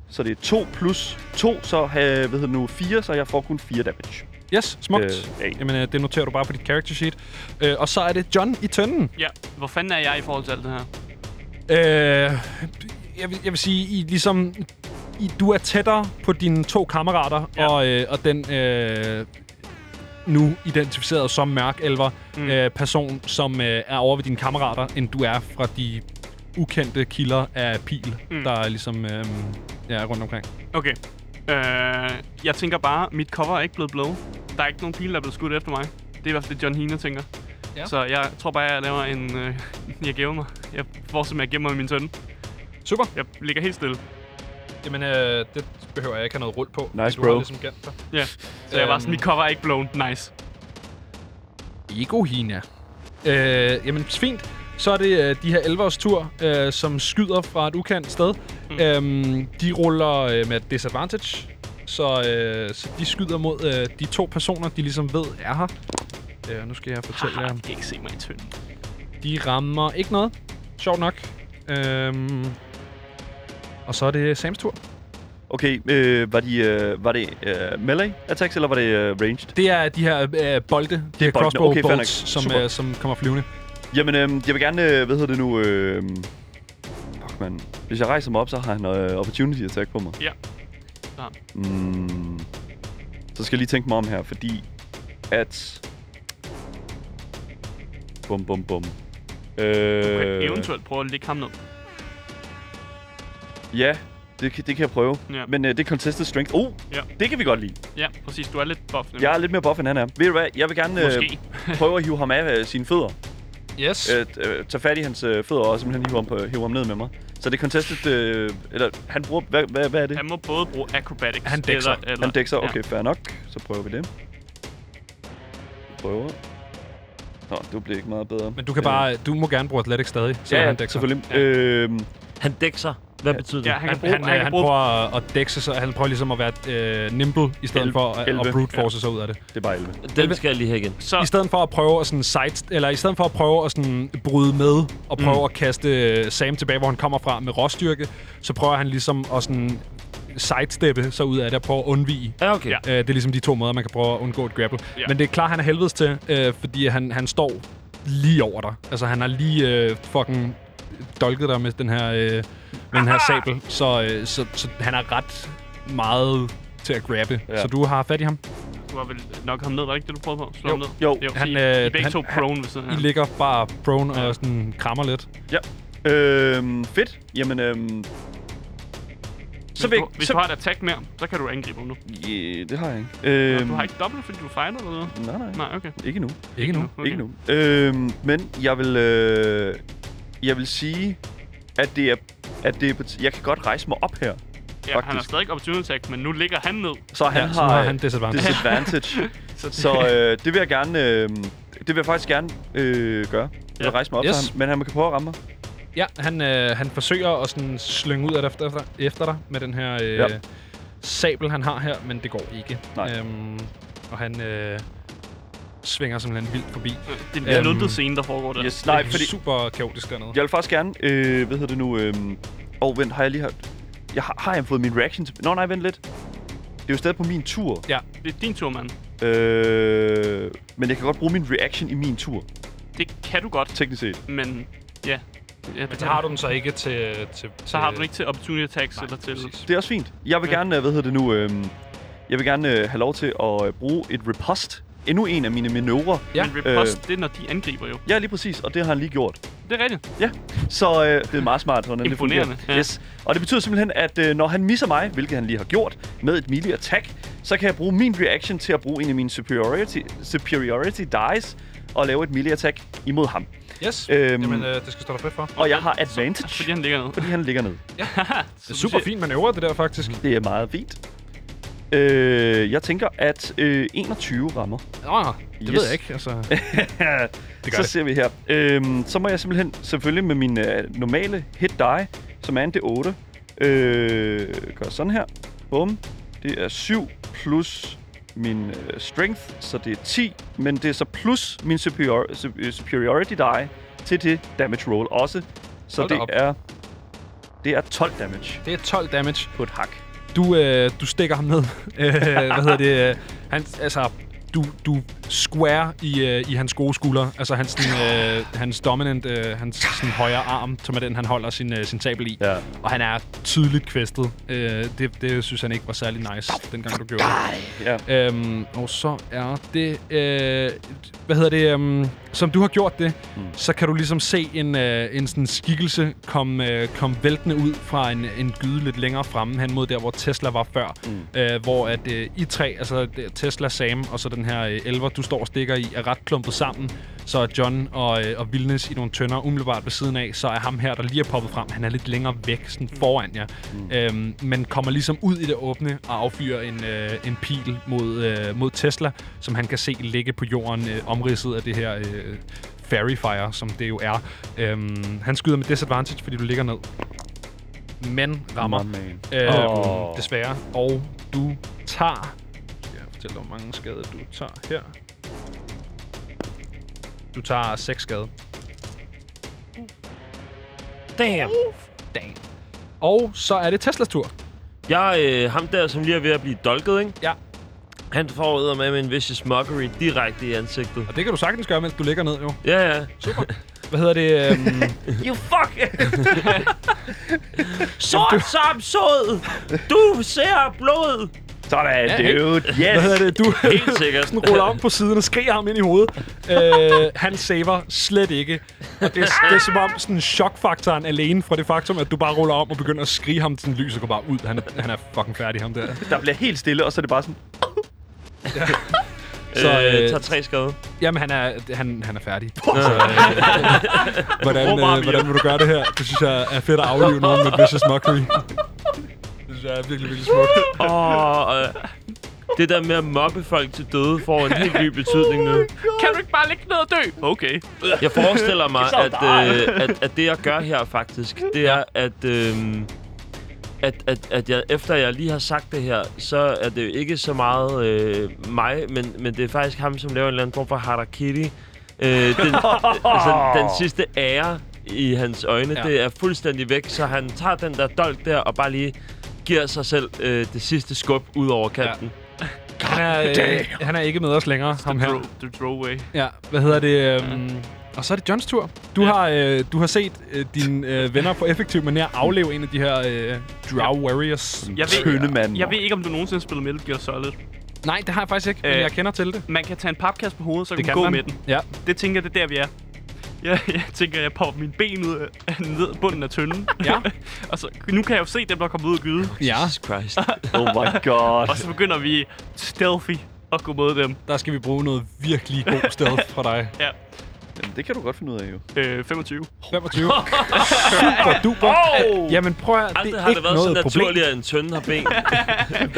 C: så det er 2 plus 2, så uh, hvad hedder det nu 4, så jeg får kun 4 damage.
B: Yes, smukt.
C: Øh, ja.
B: Øh, Jamen, øh, det noterer du bare på dit character sheet. Øh, og så er det John i tønden.
E: Ja, hvor fanden er jeg i forhold til alt det her?
B: Øh, jeg, vil, jeg vil sige, I ligesom... I, du er tættere på dine to kammerater, ja.
E: Ja.
B: og, øh, og den øh, nu identificeret som mørk elver mm. øh, person, som øh, er over ved dine kammerater, end du er fra de ukendte kilder af pil, mm. der er ligesom øh, ja, er rundt omkring.
E: Okay. Øh, jeg tænker bare, mit cover er ikke blevet blow. Der er ikke nogen pil, der er blevet skudt efter mig. Det er i hvert fald det, John Hina tænker.
B: Ja.
E: Ja. Så jeg tror bare, jeg laver en... Øh, [LAUGHS] jeg gemmer mig. Jeg får som jeg gemmer mig i min tønde.
B: Super.
E: Jeg ligger helt stille.
B: Jamen, øh, det behøver jeg ikke have noget rull på.
C: Nice,
B: du har
C: bro.
B: Ligesom gemt dig.
E: Ja. Så jeg var sådan,
B: Øhm.
E: mit cover er ikke blown. Nice.
B: Ego Hina. Øh, jamen, fint. Så er det øh, de her elvers tur, øh, som skyder fra et ukendt sted. Mm. Øhm, de ruller øh, med disadvantage, så, øh, så de skyder mod øh, de to personer, de ligesom ved er her. Øh, nu skal jeg fortælle
E: Haha,
B: jer.
E: de kan ikke se mig i tønden.
B: De rammer ikke noget. Sjovt nok. Øhm, og så er det Sams tur.
C: Okay, øh, var, de, øh, var det øh, melee attacks, eller var det øh, ranged?
B: Det er de her øh, bolde, de her
C: boltene.
B: crossbow
C: Okay, fair
B: bolts,
C: nok.
B: som,
C: Super.
B: øh, som kommer flyvende.
C: Jamen, øh, jeg vil gerne, øh, hvad hedder det nu, øh, fuck man. Hvis jeg rejser mig op, så har han øh, opportunity attack på mig.
E: Ja. Ja.
C: Mm, så skal jeg lige tænke mig om her, fordi at... Bum, bum, bum. Øh,
E: Okay, eventuelt prøve at lægge ham ned.
C: Ja, det, kan- det kan jeg prøve.
E: Ja.
C: Men øh, det er contested strength. Oh,
E: Ja.
C: det kan vi godt lide.
E: Ja, præcis. Du er lidt buff nu.
C: Jeg er lidt mere buff, end han er. Ved du hvad? Jeg vil gerne
E: Måske.
C: Øh, prøve at hive ham af øh, sine fødder.
F: Yes.
C: Øh, t- øh, tage fat i hans øh, fødder og simpelthen hive ham, på, hive ham ned med mig. Så det er contested... Øh, eller han bruger... Hvad, hvad, hvad er det?
E: Han må både bruge acrobatics
B: Han dækker.
E: Eller, eller,
C: Han dækker.
E: ja.
C: Okay, fair nok. Så prøver vi det. Prøver. Nå, du bliver ikke meget bedre.
B: Men du kan bare, du må gerne bruge atletik stadig, så
C: Øh. Ja,
B: han
C: ja
B: dækker.
C: selvfølgelig. Ja. Øhm,
G: Han dækker sig. Hvad betyder det?
E: Ja, han kan
B: Han,
E: bruge...
B: han,
E: Han,
B: han, øh,
E: kan
B: han
E: bruge...
B: prøver at- at dække sig, så han prøver ligesom at være øh, nimble, i stedet
C: Elve-
B: for at,
C: elve.
B: at brute force sig ud af det.
C: det er bare 11.
G: Den skal jeg lige have igen.
E: Så,
B: I stedet for at prøve at sådan side, eller i stedet for at prøve at sådan bryde med og prøve mm. at kaste øh, Sam tilbage, hvor han kommer fra med råstyrke, så prøver han ligesom at sådan sidesteppe sig ud af det og prøve at undvige.
G: Ja, okay.
E: Ja.
G: Ja.
B: Øh, det er ligesom de to måder, man kan prøve at undgå et grapple.
E: Ja.
B: Men det er klart, han er helvedes til, øh, fordi han, han står lige over dig. Altså, han har lige øh, fucking dolket dig med den her, øh, med den her sabel, så, øh, så, så han er ret meget til at grabbe.
C: Ja.
B: Ja. Så du har fat i ham.
E: du har vel nok ham ned, var det ikke det, du prøvede på? Slå ham ned?
C: Jo.
E: han,
B: Han,
E: I,
B: øh,
E: I er begge
B: han-
E: to
B: han-
E: prone ved siden af.
B: I ligger bare prone og sådan krammer lidt.
C: Ja. Øhm, fedt. Jamen, øhm... Så
E: Hvis,
C: vil
E: du, hvis
C: så...
E: du har et attack mere, så kan du angribe ham nu.
C: Ja, det har jeg ikke.
E: Øhm. Du har ikke dobbelt, fordi du fejler eller noget?
C: Nej, nej.
E: Nej, okay.
C: Ikke nu.
B: Ikke nu.
E: okay.
C: Ikke nu. Øhm, men jeg vil... Øh, jeg vil sige, at det er... At det er på t- jeg kan godt rejse mig op her.
E: Ja, han har
C: faktisk.
E: stadig opportunity attack, men nu ligger han ned.
C: Så han
B: Ja, så
C: har,
B: har han disadvantage. [LAUGHS]
C: disadvantage. så øh, det vil jeg gerne... Øh, det vil jeg faktisk gerne øh, gøre. Jeg vil
E: Ja.
C: rejse mig op, yes.
B: Yes.
C: så han, men han kan prøve at ramme mig.
B: Ja, han, øh, han forsøger at sådan slynge ud af dig efter, efter, efter dig med den her øh,
C: Ja.
B: ja. sabel, han har her, men det går ikke.
C: Nej.
B: Øhm, og han øh, svinger simpelthen vildt forbi.
E: Det er en
B: Øhm.
E: luttet scene, der foregår der.
C: Yes,
B: Nej,
C: nej,
B: det er
C: fordi
B: super kaotisk dernede.
C: jeg vil faktisk gerne... Øh, hvad hedder det nu? Øh, og vent, har jeg lige hørt... Jeg har, har jeg fået min reaction til... Nå nej, vent lidt. Det er jo stadig på min tur.
B: Ja,
E: Det er din tur, mand.
C: Øh, men jeg kan godt bruge min reaction i min tur,
E: Det kan du godt,
C: teknisk set.
E: men ja. ja
B: men så har du den så ikke til... til
E: Så har du den ikke til opportunity attacks eller til...
B: præcis.
C: Det er også fint. Jeg vil
E: Ja.
C: gerne, øh, hvad hedder det nu, øh, jeg vil gerne øh, have lov til at øh, bruge et repost. Endnu en af mine manøvrer.
B: Ja.
E: Men riposte, øh. det er, når de angriber jo.
C: Ja, lige præcis, og det har han lige gjort.
E: Det er rigtigt.
C: Ja, så øh, det er meget smart, hvordan det fungerer.
E: Imponerende, ja.
C: Yes. Og det betyder simpelthen, at øh, når han misser mig, hvilket han lige har gjort, med et melee attack, så kan jeg bruge min reaction til at bruge en af mine superiority, superiority dice og lave et melee attack imod ham.
B: Yes,
C: Øhm.
B: øhm, jamen øh, det skal stå dig frit for.
C: Og jeg har advantage,
E: Fordi han ligger nede.
C: fordi han ligger ned.
E: [LAUGHS]
B: Det er super fint manøvre, det der faktisk.
C: Det er meget fint. Øh, jeg tænker, at øh, 21 rammer.
B: Nå, det
C: Yes.
B: yes. ved jeg ikke, altså.
C: det
B: gør
C: så
B: det.
C: ser vi her. Øhm, så må jeg simpelthen, selvfølgelig med min øh, normale hit die, som er en D8, øh, gør sådan her. Bum. Det er 7 plus min øh, strength, så det er 10, men det er så plus min superior, su- øh, superiority die til det damage roll også. Så
B: Hold da
C: det
B: op.
C: er, det er 12 damage
B: Det er 12 damage.
C: på et hak.
B: du, øh, du stikker ham ned. [LAUGHS] Øh, hvad hedder det? Øh, Han, altså, du, du square i, øh, i hans gode skulder. Altså hans, sådan, øh, hans dominant, øh, hans sådan, højre arm, som er den, han holder sin, øh, sin sabel i.
C: Ja.
B: Og han er tydeligt kvæstet. Øh, det, det synes han ikke var særlig nice, dengang du gjorde det.
C: Ja.
B: Øhm, og så er det... Øh, hvad hedder det? Øhm, som du har gjort det, mm. så kan du ligesom se en, øh, en sådan skikkelse komme øh, kom væltende ud fra en, en gyde lidt længere fremme, hen mod der, hvor Tesla var før. Mm. Øh, hvor at øh, I tre, altså det- Tesla, Sam og så den her øh, elver, du står og stikker i, er ret klumpet sammen. Så er John og, øh, og Vilnes i nogle tønder umiddelbart ved siden af. Så er ham her, der lige er poppet frem, han er lidt længere væk sådan foran jer. Mm. Øhm, men kommer ligesom ud i det åbne og affyrer en, øh, en pil mod, øh, mod Tesla, som han kan se ligge på jorden, øh, omridset af det her øh, fairy fire, som det jo er. Øhm, han skyder med disadvantage, fordi du ligger ned. Men rammer. Øhm,
C: Åh.
B: oh. Desværre. Og du tager... Skal jeg fortælle dig, hvor mange skader du tager her? Du tager 6 skade.
G: Damn.
B: Damn. Og så er det Teslas tur.
G: Jeg, øh, ham der, som lige er ved at blive dolket, ikke?
B: Ja.
G: Han får med med en vicious mockery direkte i ansigtet.
B: Og det kan du sagtens gøre, mens du ligger ned, jo.
G: Ja, ja.
B: Hvad hedder det? Øhm,
G: You fuck! Sort som sod! Du ser blod!
C: Sådan,
B: [LAUGHS]
C: dude.
B: Hvad hedder
C: Yes.
B: det? Du [LAUGHS]
G: Helt sikkert.
B: den ruller om på siden og skriger ham ind i hovedet. Øh, han saver slet ikke. Og det, er- det er som om sådan chokfaktoren alene fra det faktum, at du bare ruller om og begynder at skrige ham til lyset går bare ud. Han er, han er fucking færdig, ham der.
C: Der bliver helt stille, og så er det bare sådan...
G: Så øh,
B: øh,
G: tager tre skade.
B: Jamen, han er, han, han er [LAUGHS] færdig. Så, øh, hvordan, øh, hvordan vil du gøre det her? Det synes jeg er fedt at
E: [LAUGHS]
B: aflive nogen med vicious mockery. Det synes jeg er virkelig, virkelig smukt.
G: Og øh, det der med at mobbe folk til døde får en helt ny betydning nu.
E: Kan du ikke bare ligge ned og dø? Okay.
G: Jeg forestiller mig, at, øh, at, at det, jeg gør her faktisk, det er, at, øh, at, at, at jeg, efter jeg lige har sagt det her, så er det jo ikke så meget øh, mig, men, men det er faktisk ham, som laver en eller anden form for harakiri. Øh, den, altså, den sidste ære i hans øjne, ja. det er fuldstændig væk, så han tager den der dolk der og bare lige giver sig selv øh, det sidste skub ud over kanten.
B: Han er, øh, han er ikke med os længere, ham her.
E: Throw, the throwaway.
B: Ja, hvad hedder det? Øhm, Og så er det Johns tur. Du, har, øh, du har set øh, dine øh, venner på effektiv manier afleve en af de her øh, Drow Warriors.
E: Jeg
C: Tynde mand.
E: ved, jeg ved ikke, om du nogensinde har spillet Metal Gear Solid.
B: Nej, det har jeg faktisk ikke, men
E: Øh,
B: jeg kender til det.
E: Man kan tage en papkasse på hovedet, så kan
B: Det
E: man
B: kan
E: gå
B: man.
E: med den.
B: Ja.
E: Det tænker jeg, det er der, vi er. Jeg, jeg tænker, jeg popper mine ben ud af ned, bunden af tønden.
B: Ja.
E: [LAUGHS] og så, nu kan jeg jo se dem, der kommer ud af gyde.
B: Ja,
G: Jesus [LAUGHS] Christ.
C: Oh my
B: [LAUGHS]
C: god.
E: Og så begynder vi stealthy at gå mod dem.
B: der skal vi bruge noget virkelig god
E: [LAUGHS]
B: stealth fra dig.
C: Jamen, det kan du godt finde ud af, jo.
E: Øh, 25.
B: 25. Super duper. Oh! Jamen prøv at høre, det
G: Aldrig
B: er
G: har det
B: ikke
G: været så
B: noget problem.
G: naturligt, at en tønde har ben.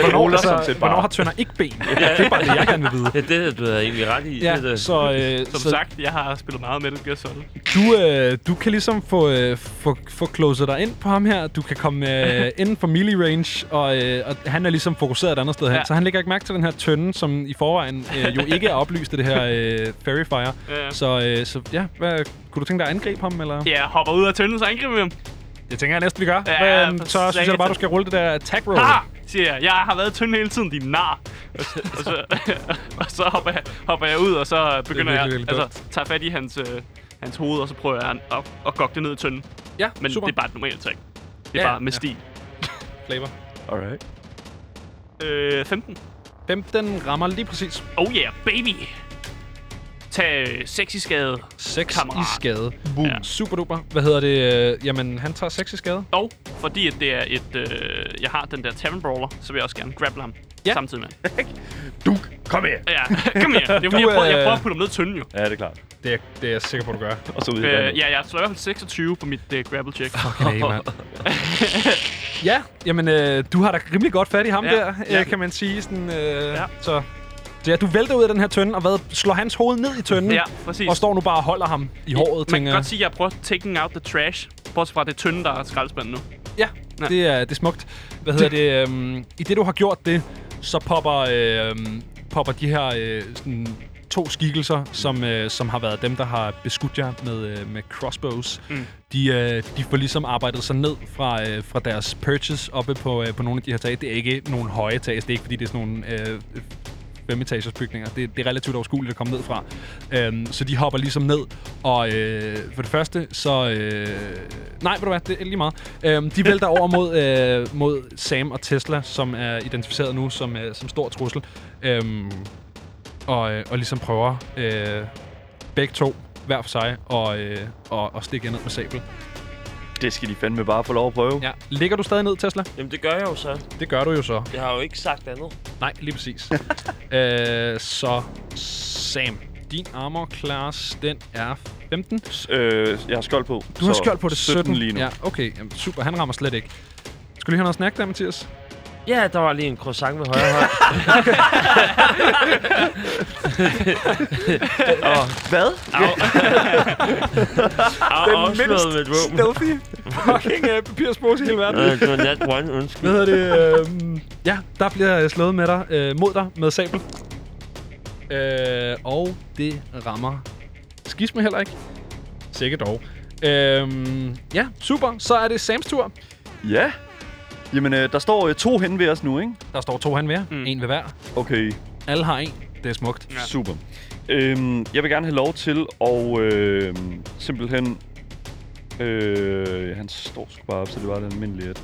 B: Hvornår,
C: ruller sådan
B: altså,
C: set bare.
B: hvornår har tønder ikke ben? Det er bare [LAUGHS] det, jeg gerne vil vide.
G: Ja, det er du da egentlig ret i. det, er
B: Ja,
G: det.
B: så, øh,
E: Som
B: så
E: sagt, jeg har spillet meget Metal Gear Solid.
B: Du, øh, du kan ligesom få, øh, få, få closet dig ind på ham her. Du kan komme øh, inden for melee range, og, øh, og han er ligesom fokuseret et andet sted hen.
E: Ja.
B: Ja. Så han lægger ikke mærke til den her tønde, som i forvejen øh, jo ikke er oplyst af det her øh, fairy fire.
E: Ja.
B: Så, øh, så ja, hvad, kunne du tænke dig at angribe ham? Eller? Ja.
E: Jeg hopper ud af tønden, så angriber vi dem.
B: Det tænker jeg næsten, vi gør.
E: Ja,
B: Ja,
E: for
B: Men, så synes jeg bare,
E: satan.
B: du skal rulle det der attack roll.
E: Ha! siger jeg. Jeg har været i tynd hele tiden, din nar. Og så, og så, [LAUGHS] og så hopper, jeg, hopper jeg ud, og så begynder
B: virkelig,
E: jeg...
B: virkelig
E: altså, tager fat i hans, øh, hans hoved, og så prøver jeg at, at, at gokke det ned i tynden.
B: Ja,
E: Men
B: super.
E: det er bare et normalt ting. Det er
B: Ja,
E: bare med
B: ja.
E: stil.
B: flavor.
C: Alright.
E: Øh, 15.
B: 15 rammer lige præcis
E: Oh yeah, baby! Tag øh, 6 i skade.
B: 6
E: Kammerat.
B: i skade.
E: Boom. Ja.
B: Super duper. Hvad hedder det? Øh, jamen, han tager 6 i skade.
E: Og fordi at det er et... Øh, jeg har den der Tavern Brawler, så vil jeg også gerne grapple ham.
B: Ja.
E: Samtidig med.
C: [LAUGHS] Du, kom her.
E: Ja, [LAUGHS] kom her.
C: [LAUGHS]
E: Det er fordi, jeg prøver, jeg
B: øh,
E: prøver at putte ham ned i tynden jo.
C: Ja, det er klart.
B: Det er, det er jeg sikker på, du [LAUGHS] gør.
C: Og så ud i
E: Øh,
C: vandet.
E: ja, jeg slår i hvert fald 26 på mit øh, grapple check.
B: Okay, [LAUGHS] mand. ja, jamen, øh, du har da rimelig godt fat i ham
E: Ja,
B: ja, der,
E: ja.
B: øh, kan man sige. Sådan, øh,
E: Ja.
B: ja. Så ja, du vælter ud af den her tønde, og hvad, slår hans hoved ned i tønden,
E: Ja, præcis.
B: og står nu bare og holder ham i håret,
E: Man
B: tænker jeg.
E: kan godt sige, at jeg prøver taking out the trash. Bortset fra det tynde, der er skraldespanden nu.
B: Ja,
E: Ja.
B: det er, det er smukt. Hvad hedder det? Øhm, I det, du har gjort det, så popper, øhm, popper de her øh, sådan, to skikkelser, som, øh, som har været dem, der har beskudt jer med, øh, med crossbows. Mm. De, øh, de får ligesom arbejdet sig ned fra, øh, fra deres purchase oppe på, øh, på nogle af de her tag. Det er ikke nogle høje tag, det er ikke fordi, det er sådan nogle øh, femetages bygninger. Det, det er relativt overskueligt at komme ned fra. Øhm, så de hopper ligesom ned, og øh, for det første, så... Øh, nej, ved du hvad, det er lige meget. Øhm, de vælter over mod, øh, mod Sam og Tesla, som er identificeret nu som, øh, som stor trussel. Øhm, og, øh, og ligesom prøver øh, begge to, hver for sig, og, øh, og, og stikke jer ned med sabel.
C: Det skal de fandme bare få lov at prøve.
B: Ja. Ligger du stadig ned, Tesla?
G: Jamen, det gør jeg jo så.
B: Det gør du jo så.
G: Jeg har jo ikke sagt andet.
B: Nej, lige præcis. øh, så Sam, din armor class, den er 15.
C: S- Øh, jeg har skjold på.
B: Du har
C: så
B: skjold på det 17.
C: 17 lige nu.
B: Ja, okay. Jamen, super, han rammer slet ikke. Skal du lige have noget snack der, Mathias?
G: Ja, der var lige en croissant med højre [LAUGHS] hånd.
C: Hvad?
G: [LAUGHS] Og afslået med et våben.
B: Stealthy fucking uh, papirspose i hele verden.
G: Øh, det var nat one, undskyld.
B: Hvad hedder det? Øh, ja, der bliver jeg slået med dig, øh, mod dig med sabel. Øh, og det rammer skisme heller ikke. Sikkert dog. Øhm, ja, super. Så er det Sams tur.
C: Ja. Jamen, øh, der står øh, to hen ved os nu, ikke?
B: Der står to han hver. Mm. En ved hver.
C: Okay,
B: Alle har en. Det er smukt.
C: ja. super. Øhm, jeg vil gerne have lov til at øh, simpelthen... Øh, han står sgu bare op, så det var det almindelige. et.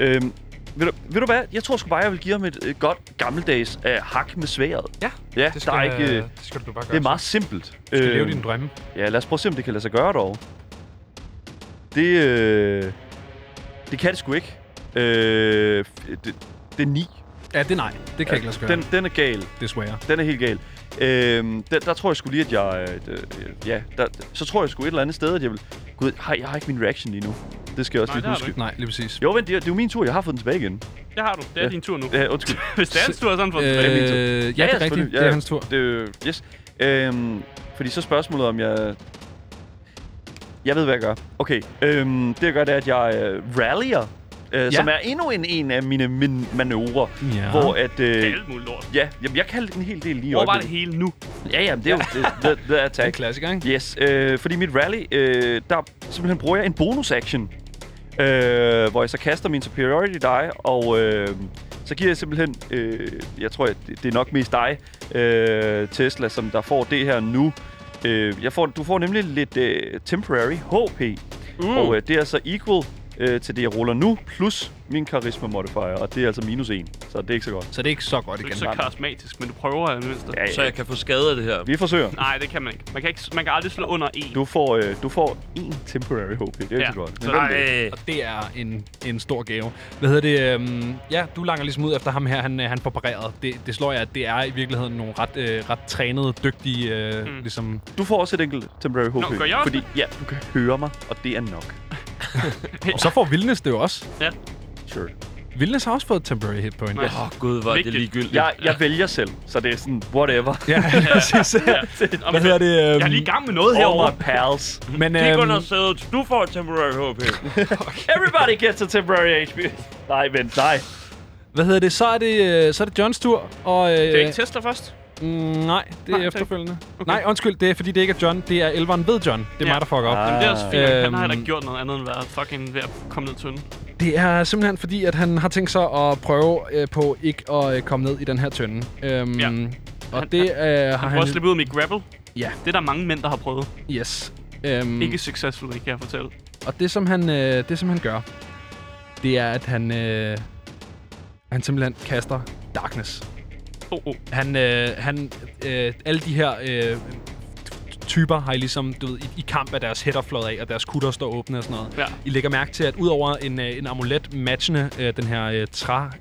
C: Øhm, Ved du, ved du hvad? Jeg tror sgu bare, jeg vil give ham et øh, godt gammeldags øh, hak med sværet.
B: Ja,
C: ja
B: Det
C: det,
B: skal,
C: der er ikke, øh,
B: det skal du bare gøre.
C: det er meget øh, simpelt. Øhm,
B: Du skal leve dine drømme.
C: Ja, lad os prøve at se, om det kan lade sig gøre dog. Det, øh, det kan det sgu ikke. Øh, f- det, det er 9.
B: Ja, det er nej. Det kan jeg ikke lade sig gøre,
C: Den, den er gal.
B: desværre.
C: Den er helt gal. Øhm, der, der tror jeg sgu lige, at jeg... øh, d- øh, ja, der, så tror jeg sgu et eller andet sted, at jeg vil... Gud, hej, jeg har ikke min reaction lige nu. Det skal jeg også
E: Nej,
C: lige
E: det har du
C: huske.
E: ikke.
B: Nej, lige præcis.
C: Jo, vent, det er, det er jo min tur. Jeg har fået den tilbage igen.
E: Det har du. Det er
C: Ja.
E: din tur nu.
C: Ja, undskyld.
E: [LAUGHS] Hvis det er hans tur, så har han fået den
B: Øh,
E: tilbage.
B: ja, det er
C: selvfølgelig.
B: rigtigt. Det er hans tur.
C: Det, er jo- yes. Øhm, fordi så er spørgsmålet, om jeg... Jeg ved, hvad jeg gør. Okay, øhm, det jeg gør, det er, at jeg øh, rallyer, øh, ja. som er endnu en, en af mine, mine manøvrer,
B: Ja.
C: hvor at...
E: Det er
C: Øh,
E: alt muligt lort.
C: ja, jamen, jeg kan en hel del lige i
E: Hvor var det
C: øjeblikket.
E: hele nu?
C: Ja, ja, det er jo det, det, det er
B: Det er en
C: attack.
B: klassiker, ikke?
C: Yes, øh, fordi mit rally, øh, der simpelthen bruger jeg en bonus-action, øh, hvor jeg så kaster min superiority dig, og øh, så giver jeg simpelthen, øh, jeg tror, at det det er nok mest dig, øh, Tesla, som der får det her nu. Øh, jeg får, du får nemlig lidt øh, temporary HP, mm. og øh, det er så equal øh, til det, jeg ruller nu, plus min karisma modifier, og det er altså minus 1, så det er ikke så godt.
B: Så det er ikke så godt
E: Du er
B: igen.
E: ikke så karismatisk, men du prøver i det mindste.
C: Ja,
G: Så
C: ja.
G: jeg kan få skade af det her.
C: Vi forsøger.
E: Nej, det kan man ikke. Man kan, ikke, man kan aldrig slå under en.
C: Du får, øh, du får én temporary HP, det er ikke
E: Ja,
C: så godt.
E: så
C: Men-
G: Ej,
B: Og det er en, en stor gave. Hvad hedder det? Øhm, ja, du langer ligesom ud efter ham her. Han, øh, han får pareret. Det, det slår jeg, at det er i virkeligheden nogle ret, øh, ret trænede, dygtige... Øh, mm. ligesom,
C: Du får også et enkelt temporary HP.
E: gør jeg også
C: fordi, ja, du kan høre mig, og det er nok.
B: og så får Vilnes det jo også. [LAUGHS]
E: Ja.
C: Sure.
B: Vilnes har også fået et temporary hit point.
E: Nej.
G: Åh, oh, gud, hvor er det
E: Vigtigt.
G: ligegyldigt.
C: Jeg, jeg vælger selv, så det er sådan, whatever.
B: Ja, [LAUGHS] præcis.
E: Nå,
B: Hvad
E: men
B: hedder det? øhm,
E: Jeg er lige i gang med noget
C: All
E: herovre.
C: my pals.
B: Men,
G: Kig
B: øhm,
G: under sædet. Du får et temporary
B: [LAUGHS]
G: HP.
C: Everybody gets a temporary HP. Nej, vent, nej.
B: hvad hedder det? Så er det, øh, så er det Johns tur. Og, øh,
E: Det er ikke Tesla først.
B: Mm, nej, det er
E: tak.
B: efterfølgende. Okay. Nej, undskyld, det er fordi, det ikke er John. Det er elveren ved John. Det er
E: Ja.
B: mig, der fucker op.
E: Jamen, det er også fint. nok. Han har heller
B: Ah, Øhm.
E: ikke gjort noget andet end været fucking ved at komme ned til den.
B: Det er simpelthen fordi, at han har tænkt sig at prøve øh, på ikke at øh, komme ned i den her tønde. Øhm,
E: Ja.
B: Og det øh, har han...
E: Prøv at slippe ud med grapple.
B: Ja.
E: Det er der mange mænd, der har prøvet.
B: Mm. Yes. Øhm,
E: Ikke successfully, kan jeg fortælle.
B: Og det som, han, øh, det, som han gør, det er, at han, øh, han simpelthen kaster Darkness.
E: Oh, oh.
B: Han, øh, han, øh, alle de her øh, typer har I ligesom, du ved, i, i kamp af deres hætter flået af, og deres kutter står åbne og sådan noget.
E: Ja.
B: I lægger mærke til, at udover en, øh, en amulet matchende øh, den her øh,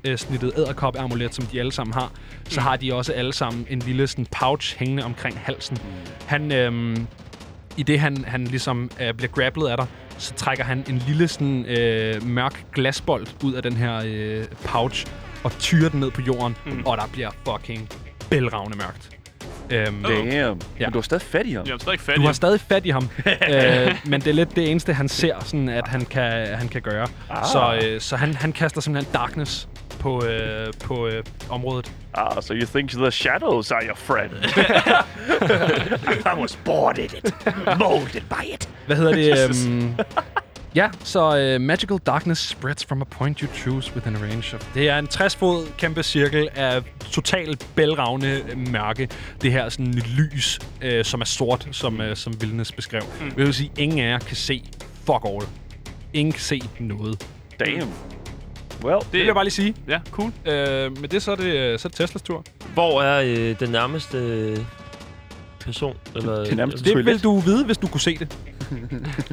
B: træsnittede æderkop-amulet, som de alle sammen har, så har de også alle sammen en lille sådan, pouch hængende omkring halsen. Han, øh, i det han, han ligesom øh, bliver grapplet af dig, så trækker han en lille sådan, øh, mørk glasbold ud af den her øh, pouch og tyrer den ned på jorden, mm. og der bliver fucking bælragende mørkt. Øhm,
E: Okay.
C: Damn.
B: Ja.
C: Ja. Men du er stadig fattig her.
E: Jeg er stadig fattig.
B: du har stadig fat i [LAUGHS] ham, øh, men det er lidt det eneste, han ser, sådan, at han kan, han kan gøre. Ah. Så, øh, så han, han kaster simpelthen darkness på, øh, på øh, området.
C: Ah, so you think the shadows are your friend. I was born in it. Molded by it.
B: Hvad [LAUGHS] hedder det?
C: Jesus.
B: Um, ja, så uh, Magical Darkness spreads from a point you choose within a range of... Det er en 60-fod kæmpe cirkel af totalt bælragende øh, mørke. Det her sådan et lys, øh, som er sort, som, øh, som Vilnes beskrev. Mm. Det vil sige, ingen af jer kan se fuck all. Ingen kan se noget. Det
C: Damn. Well,
E: Det,
B: vil jeg bare lige sige.
E: Ja, cool.
B: Øh, men det så er det, øh, så er det Teslas tur.
G: Hvor er øh, den nærmeste øh, person? Eller,
C: det er nærmest
B: Det
C: Toilet.
B: vil du vide, hvis du kunne se det.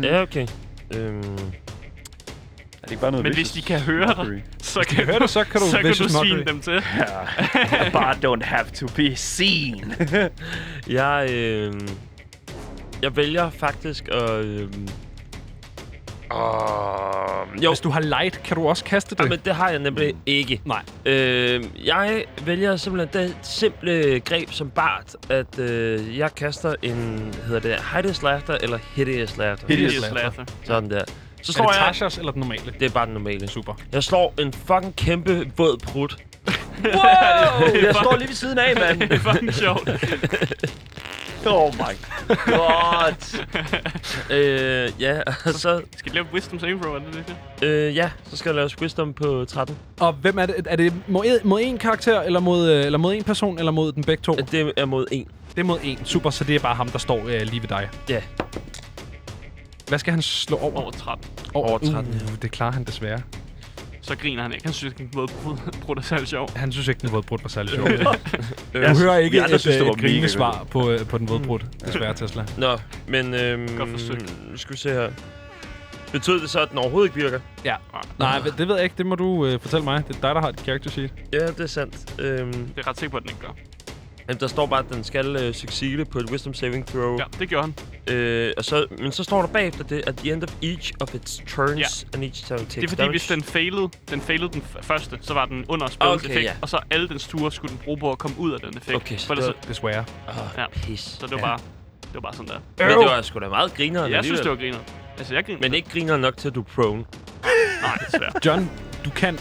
G: Ja, okay. Øhm,
C: er det ikke bare noget
E: Men
C: vicious
E: hvis de kan høre
C: mockery?
E: dig, så kan,
B: høre det, [LAUGHS] så kan du
E: så kan du
B: vicious
E: svine
B: mockery.
E: dem til.
C: I bare don't have to be
E: [LAUGHS]
C: seen.
G: jeg, øh, jeg vælger faktisk at... Øh,
B: Jo. Hvis du har light, kan du også kaste det.
G: det. men det har jeg nemlig ikke.
B: Mm. Nej.
G: Øh, jeg vælger simpelthen det simple greb som bart, at øh, jeg kaster en... Hedder det Hideous Laughter eller Hideous Laughter?
C: Hideous
E: Yes, Lasse.
G: Sådan der.
B: er
G: Så slår
B: det
G: jeg...
B: Tashas eller den normale?
G: Det er bare den normale.
B: Super.
G: Jeg slår en fucking kæmpe våd
E: [LAUGHS]
G: prut
C: Wow! Jeg står lige ved siden af, mand.
E: Det er fucking [LAUGHS] sjovt.
C: Oh my god.
G: Øh, ja, og så...
E: Skal vi lave wisdom saving throw, er det det?
G: Øh, ja, så skal jeg lave wisdom på 13.
B: Og hvem er det? Er det mod, en- mod en karakter, eller mod, øh, eller mod en person, eller mod den begge to?
G: Øh, Det er mod 1.
B: Det er mod en. Super, så det er bare ham, der står øh, lige ved dig.
G: Ja.
B: Hvad skal han slå over?
E: Over 13.
B: Over,
G: over 13,
B: Uh, det klarer han desværre.
E: så griner han ikke. Han synes, at både brudt er særlig sjov.
B: Han synes ikke, den vådbrud var
C: [LAUGHS]
B: særlig sjov. Du
C: Jeg
B: hører ikke
C: vi andre
B: et,
C: synes,
B: synes,
C: det var
B: et
C: mega
B: grinende
C: godt. Mm.
B: svar på, øh, på den vådbrud, desværre Tesla.
G: Nå, men øhm,
E: Godt forsøgt.
G: nu skal vi se her. Betød det så, at den overhovedet ikke virker?
B: Nej, men det ved jeg ikke. Det må du øh, fortælle mig. Det er dig, der har et character sheet.
G: Ja, det er sandt. Øhm,
E: Det er jeg ret sikker på, at den ikke gør.
G: jamen, der står bare, at den skal øh, succede på et wisdom saving throw.
E: Ja, det gjorde han.
G: Øh, og så, men så står der bagefter det, at the end of each of its turns
E: Ja.
G: and each time it takes
E: Det er fordi,
G: damage.
E: hvis den failede, den failede den f- første, så var den under spillets
G: Okay,
E: effekt,
G: ja.
E: og så alle dens ture skulle den bruge på at komme ud af den effekt.
G: Okay, så
E: For ellers
G: det
B: Desværre.
G: Åh,
E: ja.
G: pis.
E: så det var bare, det var bare sådan der.
G: Ja. Men det var sgu da meget grineren
E: Jeg synes,
G: alligevel.
E: det var griner. Altså, jeg griner.
G: Men ikke griner nok til, at du er prone.
E: Nej, desværre.
B: John, du kan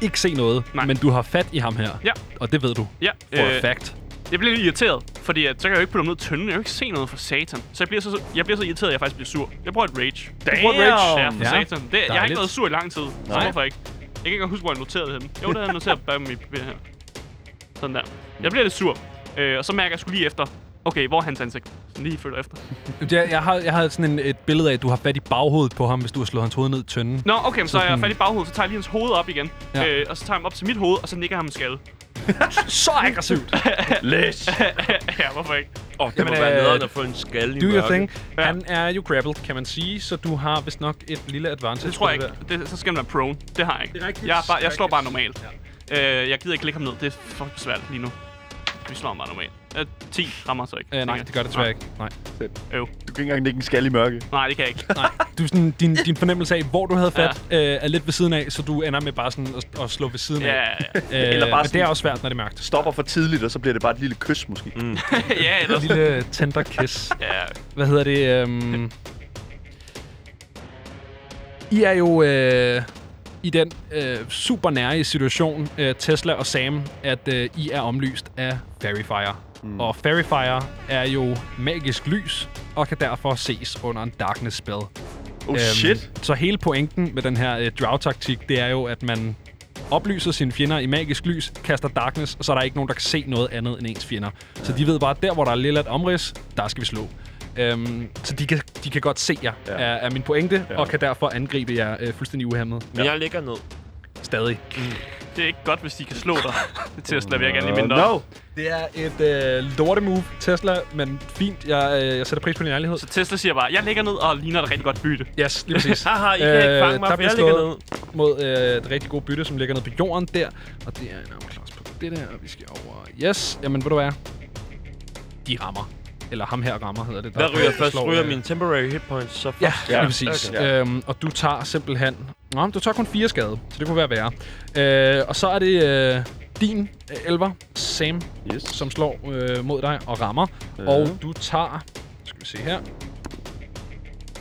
B: ikke se noget,
E: Nej.
B: men du har fat i ham her.
E: Ja.
B: Og det ved du.
E: Ja,
B: For
E: øh,
B: a fact.
E: jeg bliver lidt irriteret, fordi at, så kan jeg jo ikke putte dem ned i tønden. Jeg kan jo ikke se noget for satan. Så jeg bliver så, jeg bliver så irriteret, at jeg faktisk bliver sur. Jeg bruger et rage. Jeg bruger et rage. Ja, for
B: Ja.
E: satan. Det, jeg har ikke
B: Dejligt.
E: været sur i lang tid. Så hvorfor ikke? Jeg kan ikke engang huske, hvor jeg noterede det henne. Jo, det havde jeg noteret bag mit papir her. Sådan der. Jeg bliver lidt sur. Øh, og så mærker jeg sgu lige efter. Okay, hvor er hans ansigt? Sådan lige følger efter.
B: Jeg, jeg, har, jeg har sådan en, et billede af, at du har fat i baghovedet på ham, hvis du har slået hans hoved ned i tønden.
E: Nå, okay, men så er jeg fat i baghovedet, så tager jeg lige hans hoved op igen.
B: Ja.
E: Ja. Øh, og så tager jeg ham op til mit hoved, og så nikker jeg ham en skalle.
B: Så aggressivt!
C: Læs!
E: [LAUGHS] ja, hvorfor ikke?
G: Åh, oh, det må
B: Jamen,
G: være
B: øh,
G: nederen at få en skalle i
B: Do your
G: mørke.
B: thing. Han er jo grappled, kan man sige, så du har vist nok et lille advantage.
E: Det tror jeg
B: på
E: ikke. Det, så skal han være prone. Det har jeg ikke.
B: Det er rigtigt.
E: Jeg, er bare, jeg slår bare
B: Rigtigt.
E: normalt. Ja. Øh, jeg gider ikke lægge ham ned. Det er for svært lige nu. Vi slår ham bare normalt. Øh, 10 rammer så ikke.
B: der. Øh, nej,
E: tænker
B: det gør det desværre ikke. Nej.
E: jeg. Øv.
C: Du kan ikke engang lægge en skal i mørke.
E: Nej, det kan jeg ikke.
B: nej. Du, sådan, din, din fornemmelse af, hvor du havde fat, ja. øh, er lidt ved siden af, så du ender med bare sådan at, at slå ved siden
E: Ja,
B: af.
E: ja, ja.
B: Øh,
C: Eller bare
B: men det
C: sådan-
B: er også svært, når det er mørkt.
C: Stopper for tidligt, og så bliver det bare et lille kys, måske. Mm.
E: ja,
B: Et
E: ellers.
B: lille tender kiss.
E: Ja,
B: Hvad hedder det? Øhm... I er jo øh, i den øh, super nære situation, øh, Tesla og Sam, at øh, I er omlyst af Fairyfire. Mm. Og Fairyfire er jo magisk lys, og kan derfor ses under en darkness spell.
C: Oh shit!
B: Øhm, Så hele pointen med den her øh, draw-taktik, det er jo, at man oplyser sine fjender i magisk lys, kaster darkness, og så er der ikke nogen, der kan se noget andet end ens fjender. Så de ved bare, at der, hvor der er lillet omrids, der skal vi slå. Øhm, så de kan, de kan godt se jer, ja.
C: Ja.
B: er, er min pointe, ja.
C: Ja.
B: og kan derfor angribe jer øh, fuldstændig uhemmet.
G: Men jeg ligger ned.
B: Stadig.
E: det er ikke godt, hvis de kan slå
B: [LAUGHS]
E: dig. Det Tesla vil jeg gerne lige
C: Uh,
E: minde om.
C: no!
B: Det er et øh, lortemove, Tesla, men fint. Jeg, øh, jeg sætter pris på din ærlighed.
E: Så Tesla siger bare, jeg ligger ned og ligner et rigtig godt bytte.
B: Yes, lige præcis.
G: [LAUGHS]
B: Øh,
G: Haha, I kan ikke fange mig,
B: der
G: for jeg
B: bliver
G: ligger
B: slået
G: ned.
B: mod øh, det rigtig gode bytte, som ligger nede på jorden der. Og det er en armklods på det der, og vi skal over... Yes, jamen ved du hvad? De rammer. Eller ham her rammer, hedder det.
G: Hvad
B: Der-
G: ryger
B: der
G: først?
B: slår,
G: Ryger
B: øh,
G: mine temporary hit points så først?
B: Ja,
C: Ja,
B: ja, lige præcis.
C: okay.
B: Okay. Øhm, og du tager simpelthen... Nå, men du tager kun fire skade, så det kunne være værre. Øh, og så er det øh, din øh, elver, Sam,
C: Yes.
B: som slår øh, mod dig og rammer.
C: Ja.
B: Og du tager... Skal vi se her.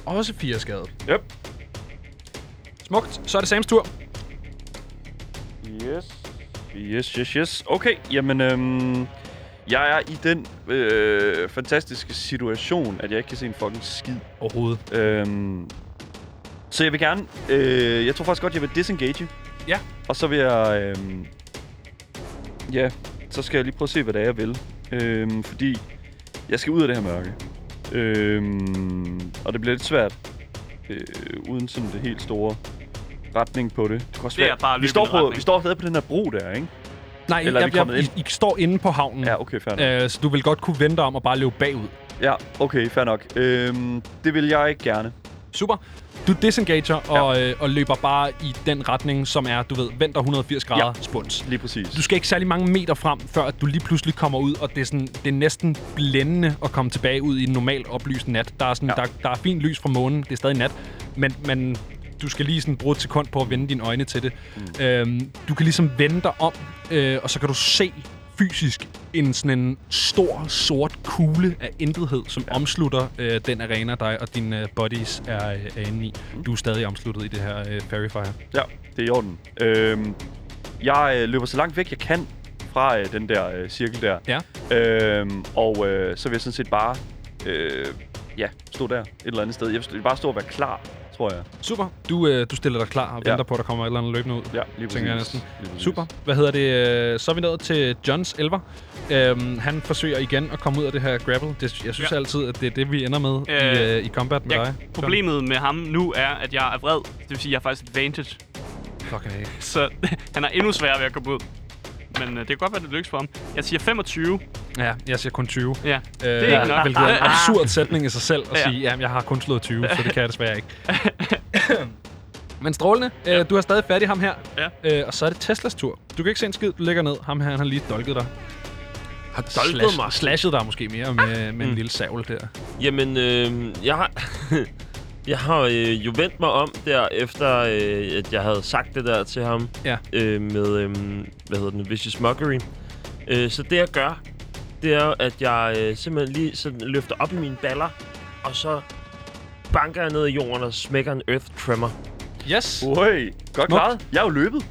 B: Også fire skade.
C: Yep.
B: Smukt. Så er det Sams tur.
C: Yes. Yes, yes, yes. Okay, jamen, øhm, jeg er i den øh, fantastiske situation, at jeg ikke kan se en fucking skid.
B: Overhovedet.
C: Øhm, så jeg vil gerne... Øh, jeg tror faktisk godt, jeg vil disengage.
B: Ja.
C: Og så vil jeg... Øhm, ja, så skal jeg lige prøve at se, hvad det er, jeg vil. Øhm, fordi jeg skal ud af det her mørke. Øhm, og det bliver lidt svært. Øh, uden sådan det helt store retning på det. Det, kan også
E: Det er
C: være-
E: bare at
C: vi
E: løbe
C: står
E: i en
C: på,
E: retning.
C: Vi står stadig på den her bro der, ikke?
B: Nej,
C: Eller er
B: jeg,
C: vi
B: jeg,
C: kommet
B: jeg, I, I står inde på havnen,
C: Ja, okay, fair nok.
B: øh, så du vil godt kunne vente om at bare løbe bagud.
C: Ja, okay, fair nok. Øhm, det vil jeg ikke gerne.
B: Super. Du disengager og, øh, og løber bare i den retning, som er, du ved, venter 180 grader ja. spuns.
C: Lige præcis.
B: Du skal ikke særlig mange meter frem, før at du lige pludselig kommer ud, og det er, sådan, det er næsten blændende at komme tilbage ud i en normal oplyst nat. Der er, sådan, ja.
C: Ja.
B: der, der er fint lys fra månen, det er stadig nat, men, men du skal lige sådan bruge et sekund på at vende dine øjne til det. Mm. Øhm, du kan ligesom vende dig om, øh, og så kan du se fysisk en sådan en stor sort kugle af intethed, som ja. omslutter øh, den arena, dig og dine øh, buddies er, øh, er inde i. Du er stadig omsluttet i det her øh, Fairyfire.
C: Ja, det er i orden. Øhm, jeg øh, løber så langt væk, jeg kan fra øh, den der øh, cirkel der.
B: Ja.
C: Øhm, og øh, så vil jeg sådan set bare... Øh, ja, stå der et eller andet sted. Jeg vil st- bare stå og være klar, tror jeg.
B: Super. Du, øh, du stiller dig klar og
C: Ja.
B: ja. venter på, at der kommer et eller andet løbende ud.
C: Ja, lige
B: Tænker jeg næsten.
C: Lige præcis.
B: Super. Hvad hedder det? øh, Så er vi nået til Johns elver. Øhm, han forsøger igen at komme ud af det her grapple. Det, jeg synes ja.
E: Ja.
B: altid, at det er det, vi ender med øh, i,
E: Øh,
B: øh, i combat med
E: Jeg,
B: dig.
E: problemet med ham nu er, at jeg er vred. Det vil sige, at jeg har faktisk advantage.
B: Fucking A.
E: [LAUGHS] Så han er endnu sværere ved at komme ud. Men øh, det kan godt være, det lykkes for ham. Jeg siger 25.
B: Ja, jeg siger kun 20.
E: Ja,
B: Øh, det
E: er ikke nok.
B: Hvilket er en absurd sætning i sig selv at
E: Ja.
B: ja. sige, jamen, jeg har kun slået 20, så det kan jeg desværre ikke. Men strålende. Ja. Øh, du har stadig fat i ham her. Ja. Øh, og så er det Teslas tur. Du kan ikke se en skid, du ligger ned. Ham her, han har lige dolket dig. Har dolket
G: mig?
B: Slashet dig måske mere med, med en lille savl der.
G: Jamen, øh, jeg har... [LAUGHS] Jeg har øh, jo vendt mig om der, efter øh, at jeg havde sagt det der til ham
B: Ja.
G: øh, med, øh, hvad hedder den, Vicious Mockery. Øh, så det jeg gør, det er jo, at jeg øh, simpelthen lige sådan løfter op i mine baller, og så banker jeg ned i jorden og smækker en Earth Tremor.
B: Yes. Uh.
C: Ui, godt klaret. Jeg er jo løbet.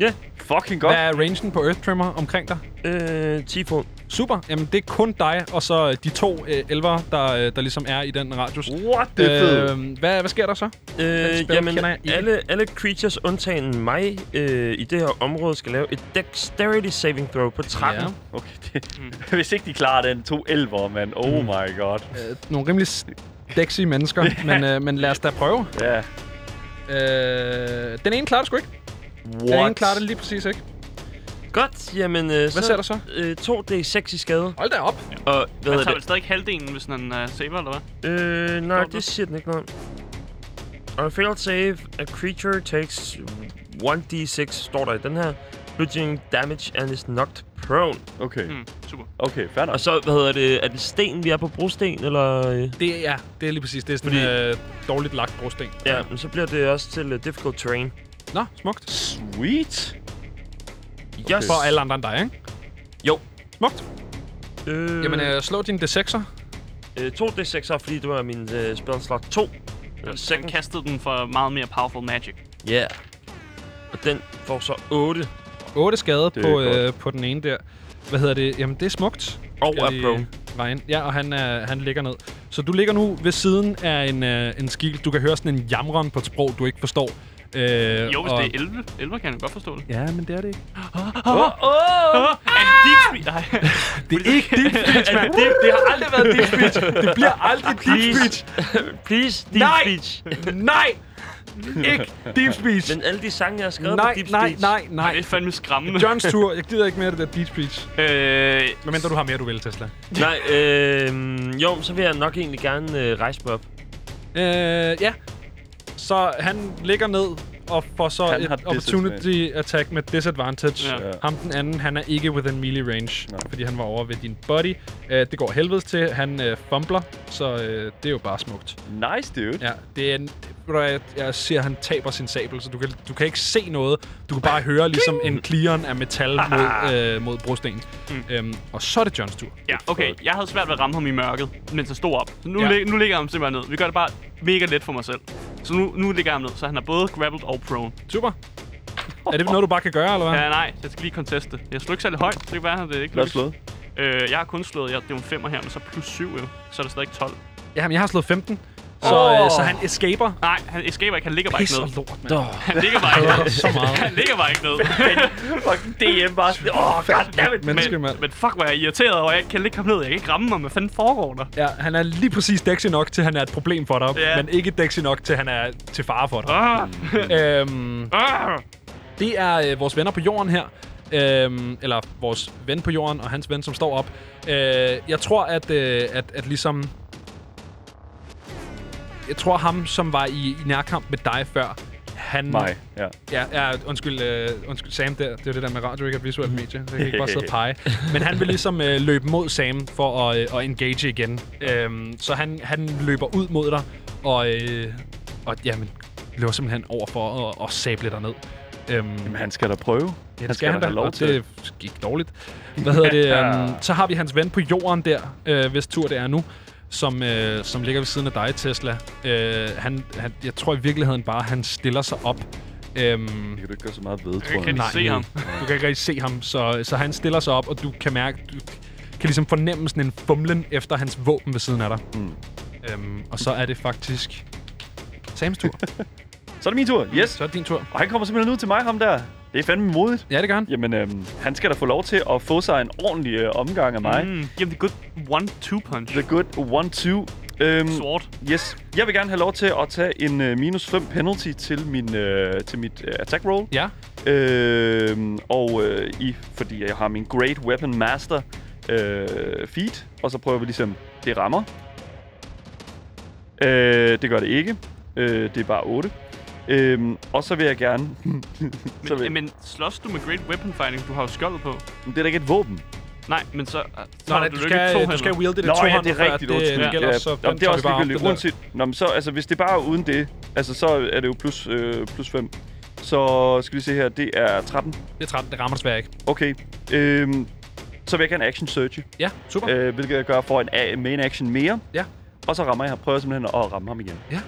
G: Ja.
C: Fucking
B: Hvad
C: godt.
B: er rangen på Earth Trimmer omkring dig?
G: Øh, 10 fod.
B: Super. Jamen, det er kun dig, og så de to øh, elver, der, øh, der ligesom er i den radius.
C: What? Det er fedt.
B: øh, hvad, hvad sker der så?
G: Øh,
B: spil
G: jamen,
B: kender jeg ikke.
G: alle, alle creatures undtagen mig øh, i det her område skal lave et dexterity saving throw på 13.
B: Ja.
C: Okay, det, [LAUGHS] hvis ikke de klarer den, to elver, mand.
B: Mm.
C: Oh my god.
B: Øh, nogle rimelig dexy mennesker, men, øh, men lad os da prøve.
C: Ja.
B: Øh, den ene klarer det sgu ikke. Den ene
C: What?
B: klarer det lige præcis ikke.
G: Godt, jamen... Øh, Hvad så,
B: ser du så?
G: Øh, 2d6 i skade.
B: Hold da op.
G: Og
E: han
G: hvad hedder
E: tager Altså, vel stadig ikke halvdelen, hvis han er uh, saber, eller hvad?
G: det? Øh, nej,
E: Står der?
G: det siger den ikke noget om. On a failed save, a creature takes 1d6, står der i den her. Bludgeoning damage and is knocked prone.
C: Okay,
E: Mm, super.
C: okay, fair nok.
G: Og så, hvad hedder det? Er det sten, vi er på brosten, eller... øh?
B: Det er, det er lige præcis. Det er sådan en
G: Fordi-
B: øh, dårligt lagt brosten.
G: Ja, men så bliver det også til uh, difficult terrain.
B: Nå, smukt.
C: Sweet.
G: Okay. Yes.
B: For alle andre end dig, ikke?
G: Jo.
B: Smukt.
G: Øh,
B: Jamen, øh, slå din D6'er.
G: øh, 2d6'er, fordi det var min øh, spell slot 2.
E: Han, han
G: Second.
E: kastede den for meget mere powerful magic.
G: Ja. Yeah. Og den får så 8
B: 8 skade
C: Det er
B: på,
C: godt.
B: øh, på den ene der. Hvad hedder det? Jamen, det er smukt.
G: og
B: Jeg [LAUGHS]
G: er
B: lige
G: prone.
B: vejen. Ja, og han, øh, han ligger ned. Så du ligger nu ved siden af en, øh, en skikkel. Du kan høre sådan en jamron på et sprog, du ikke forstår. Øh,
E: Jo, hvis
B: og-
E: det er 11. 11 kan jeg godt forstå det.
B: Ja, men det er det ikke.
E: Åh, er det deep speed? Nej.
B: [LAUGHS] Det er ikke deep speech, mand.
G: det, det har aldrig
B: [LAUGHS]
G: været deep speech.
B: Det bliver aldrig deep
G: Please.
B: speech.
G: [LAUGHS] Please, deep
B: Nej!
G: speech.
B: Nej! Ikke deep speech.
G: Men alle de sange, jeg har skrevet
B: Nej,
G: på deep
B: nej,
G: speech.
B: nej,
E: Nej, det
B: nej.
E: er fandme skræmmende.
B: Johns tur. Jeg gider ikke mere det der deep speech.
E: Øh,
B: Men mindre du har mere, du vil, Tesla.
G: Nej, øh, jo, så vil jeg nok egentlig gerne øh, rejse mig op.
B: Øh, ja. Så han ligger ned og får så
C: Han
B: et
C: har
B: opportunity attack med disadvantage.
E: Ja.
B: Ja. Ham den anden, han er ikke within melee range, Nej. fordi han var over ved din body. Øh, det går helvedes til. Han øh, fumbler, så øh, det er jo bare smukt.
C: Nice, dude.
B: Ja, det er en, ved du hvad, jeg, jeg ser, han taber sin sabel, så du kan, du kan ikke se noget. Du kan bare høre ligesom en clearen af [LAUGHS] metal mod, øh, mod brosten. Mm. Øhm, og så er det Johns tur.
E: ja, okay. Jeg havde svært ved at ramme ham i mørket, mens han stod op. Så nu,
B: Ja.
E: ja. lig, nu ligger han simpelthen ned. Vi gør det bare mega let for mig selv. Så nu, nu ligger han ned, så han er både grappled og prone.
B: Super. Er det noget, du bare kan gøre, eller hvad?
E: Ja, nej, jeg skal lige conteste. Jeg slog ikke særlig højt, så det kan være, at det ikke
C: Flot
E: lykkes.
C: slået.
E: Øh, jeg har kun slået, jeg, det er jo en femmer her, men så plus 7 jo. Så er der stadig 12.
B: Jamen, jeg har slået 15. Så, oh. øh, så han escaper.
E: Nej, han escaper ikke, han ligger bare
B: Pis
E: ikke
B: og
E: ned.
B: lort, mand. Oh.
E: Han ligger bare ikke ned.
B: [LAUGHS] Så meget.
E: Han ligger bare ikke ned.
C: Fucking DM bare. sådan, Åh, oh, goddammit.
B: Menneske, mand.
E: men, men fuck, hvor er jeg irriteret over, at jeg ikke kan ligge ham ned. Jeg kan ikke ramme ham. Hvad fanden foregår der?
B: Ja, han er lige præcis dexy nok, til han er et problem for dig.
E: Ja.
B: Men ikke dexy nok, til han er til fare for dig.
E: Ah,
C: Mm.
B: Øhm,
E: ah.
B: det er øh, vores venner på jorden her. Øhm, eller vores ven på jorden og hans ven, som står op. Øh, jeg tror, at, øh, at, at ligesom... Jeg tror, ham, som var i, i nærkamp med dig før, han...
C: Mig, ja.
B: Ja, ja undskyld, øh, undskyld Sam der. Det er jo det der med radio, ikke er et visuelt medie. Så jeg kan ikke bare sidde og pege. Men han vil ligesom øh, løbe mod Sam for at, øh, at engage igen. Øhm, så han, han løber ud mod dig, og, øh, og jamen, løber simpelthen over for at, at sable dig ned. Øhm,
C: Jamen, han skal da prøve.
B: ja,
C: han
B: det skal han
C: da
B: da,
C: have lov
B: og
C: til.
B: det gik dårligt. Hvad hedder
C: [LAUGHS]
B: det? Um, så har vi hans ven på jorden der, øh, hvis tur det er nu, som, øh, som ligger ved siden af dig, Tesla. Øh, han, han, jeg tror i virkeligheden bare, han stiller sig op. Øhm,
C: Det kan du ikke gøre så meget ved, tror
E: Jeg
C: jeg.
E: kan ikke se ham.
B: du kan ikke rigtig se ham, så, så han stiller sig op, og du kan mærke, du kan ligesom fornemme sådan en fumlen efter hans våben ved siden af dig. Mm. Øhm, og så er det faktisk Sams tur.
C: Så er det min tur. Yes.
B: så er det din tur.
C: Og han kommer simpelthen ud til mig, ham der. Det er fandme modigt.
B: Ja, det gør han.
C: Jamen, øhm, han skal da få lov til
B: Mm.
C: at få sig en ordentlig øh, omgang af mig.
E: Mm, give him the good one-two punch.
C: The good one-two. Øhm,
E: Sort.
C: yes. Jeg vil gerne have lov til at tage en øh, minus 5 penalty til, min, øh, til mit øh, attack roll.
B: Ja.
C: Øh, og øh, i, fordi jeg har min Great Weapon Master øh, feat, og så prøver vi ligesom, det rammer. Øh, det gør det ikke. Øh, det er bare 8. Øhm, og så vil jeg gerne... [LAUGHS] så
E: Men,
C: vil,
E: men slås du med Great Weapon Fighting? Du har jo skjoldet på.
C: det er da ikke et våben.
E: Nej, men så, så
B: Nå,
E: har
B: nej,
E: du,
B: du
E: jo ikke to
B: skal, du
E: hænder.
B: skal wielde det
C: Nå,
B: to
C: ja, det er rigtigt.
B: det,
C: undskyld.
B: øh, det gælder,
C: ja.
B: så
C: Nå, men det er også
B: ligegyldigt.
C: ligegyldigt. Uanset, nå, men så, altså, hvis det bare er uden det, altså, så er det jo plus, øh, plus 5. Så skal vi se her, det er 13.
B: Det er 13, det rammer desværre ikke.
C: Okay. Øhm, så vil jeg gerne action search,
B: Ja, super.
C: øh, hvilket jeg gør for en a- main action mere.
B: Ja.
C: Og så rammer jeg, prøver jeg simpelthen at ramme ham igen.
B: Ja.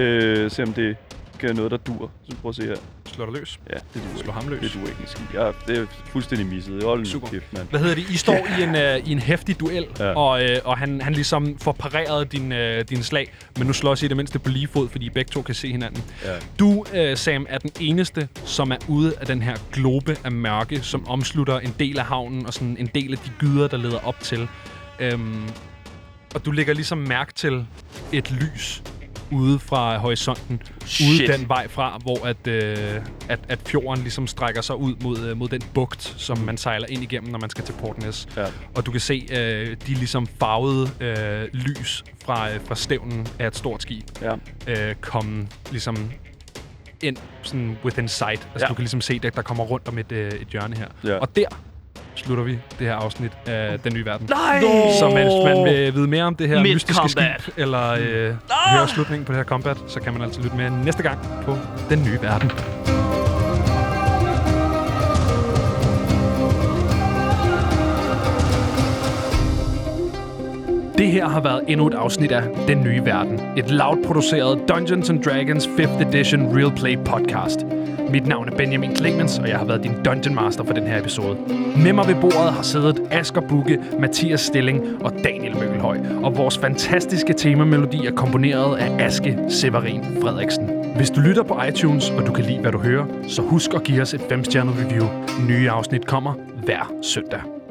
C: Øh, se om det gør noget, der dur. Så prøv at se her.
B: Slå dig løs.
C: Ja, det duer
B: Slå ham løs.
C: ikke. Det duer ikke en skid. Ja, det er fuldstændig misset. Hold nu
B: Super.
C: kæft, mand.
B: Hvad hedder det? I står i en, øh, i en hæftig duel,
C: Ja.
B: ja. og, øh, og han, han ligesom får pareret din, øh, din slag, men nu slås I det mindste på lige fod, fordi I begge to kan se hinanden.
C: Ja.
B: Du, øh, Sam, er den eneste, som er ude af den her globe af mørke, som omslutter en del af havnen og sådan en del af de gyder, der leder op til. Øhm, og du lægger ligesom mærke til et lys ude fra horisonten,
C: Shit.
B: ude den vej fra, hvor at, øh, at, at fjorden ligesom strækker sig ud mod, øh, mod den bugt, som man sejler ind igennem, når man skal til Portnæs.
C: Ja.
B: Og du kan se øh, de ligesom farvede øh, lys fra, øh, fra stævnen af et stort skib
C: Ja.
B: øh, komme ligesom ind sådan within sight. Altså
C: Ja.
B: ja. du kan ligesom se, at der kommer rundt om et, øh, et hjørne her.
C: Ja.
B: Og der slutter vi det her afsnit af Den Nye Verden.
C: Nej!
B: Så hvis man vil vide mere om det her
E: Mid
B: mystiske
E: combat.
B: skib, eller øh, høre slutningen på det her combat, så kan man altså lytte med næste gang på Den Nye Verden. Det her har været endnu et afsnit af Den Nye Verden. Et loud produceret Dungeons and Dragons 5th Edition Real Play podcast. Mit navn er Benjamin Clemens, og jeg har været din Dungeon Master for den her episode. Med mig ved bordet har siddet Asger Bukke, Mathias Stilling og Daniel Møkkelhøj. Og vores fantastiske temamelodi er komponeret af Aske Severin Frederiksen. Hvis du lytter på iTunes, og du kan lide, hvad du hører, så husk at give os et 5-stjernet review. Nye afsnit kommer hver søndag.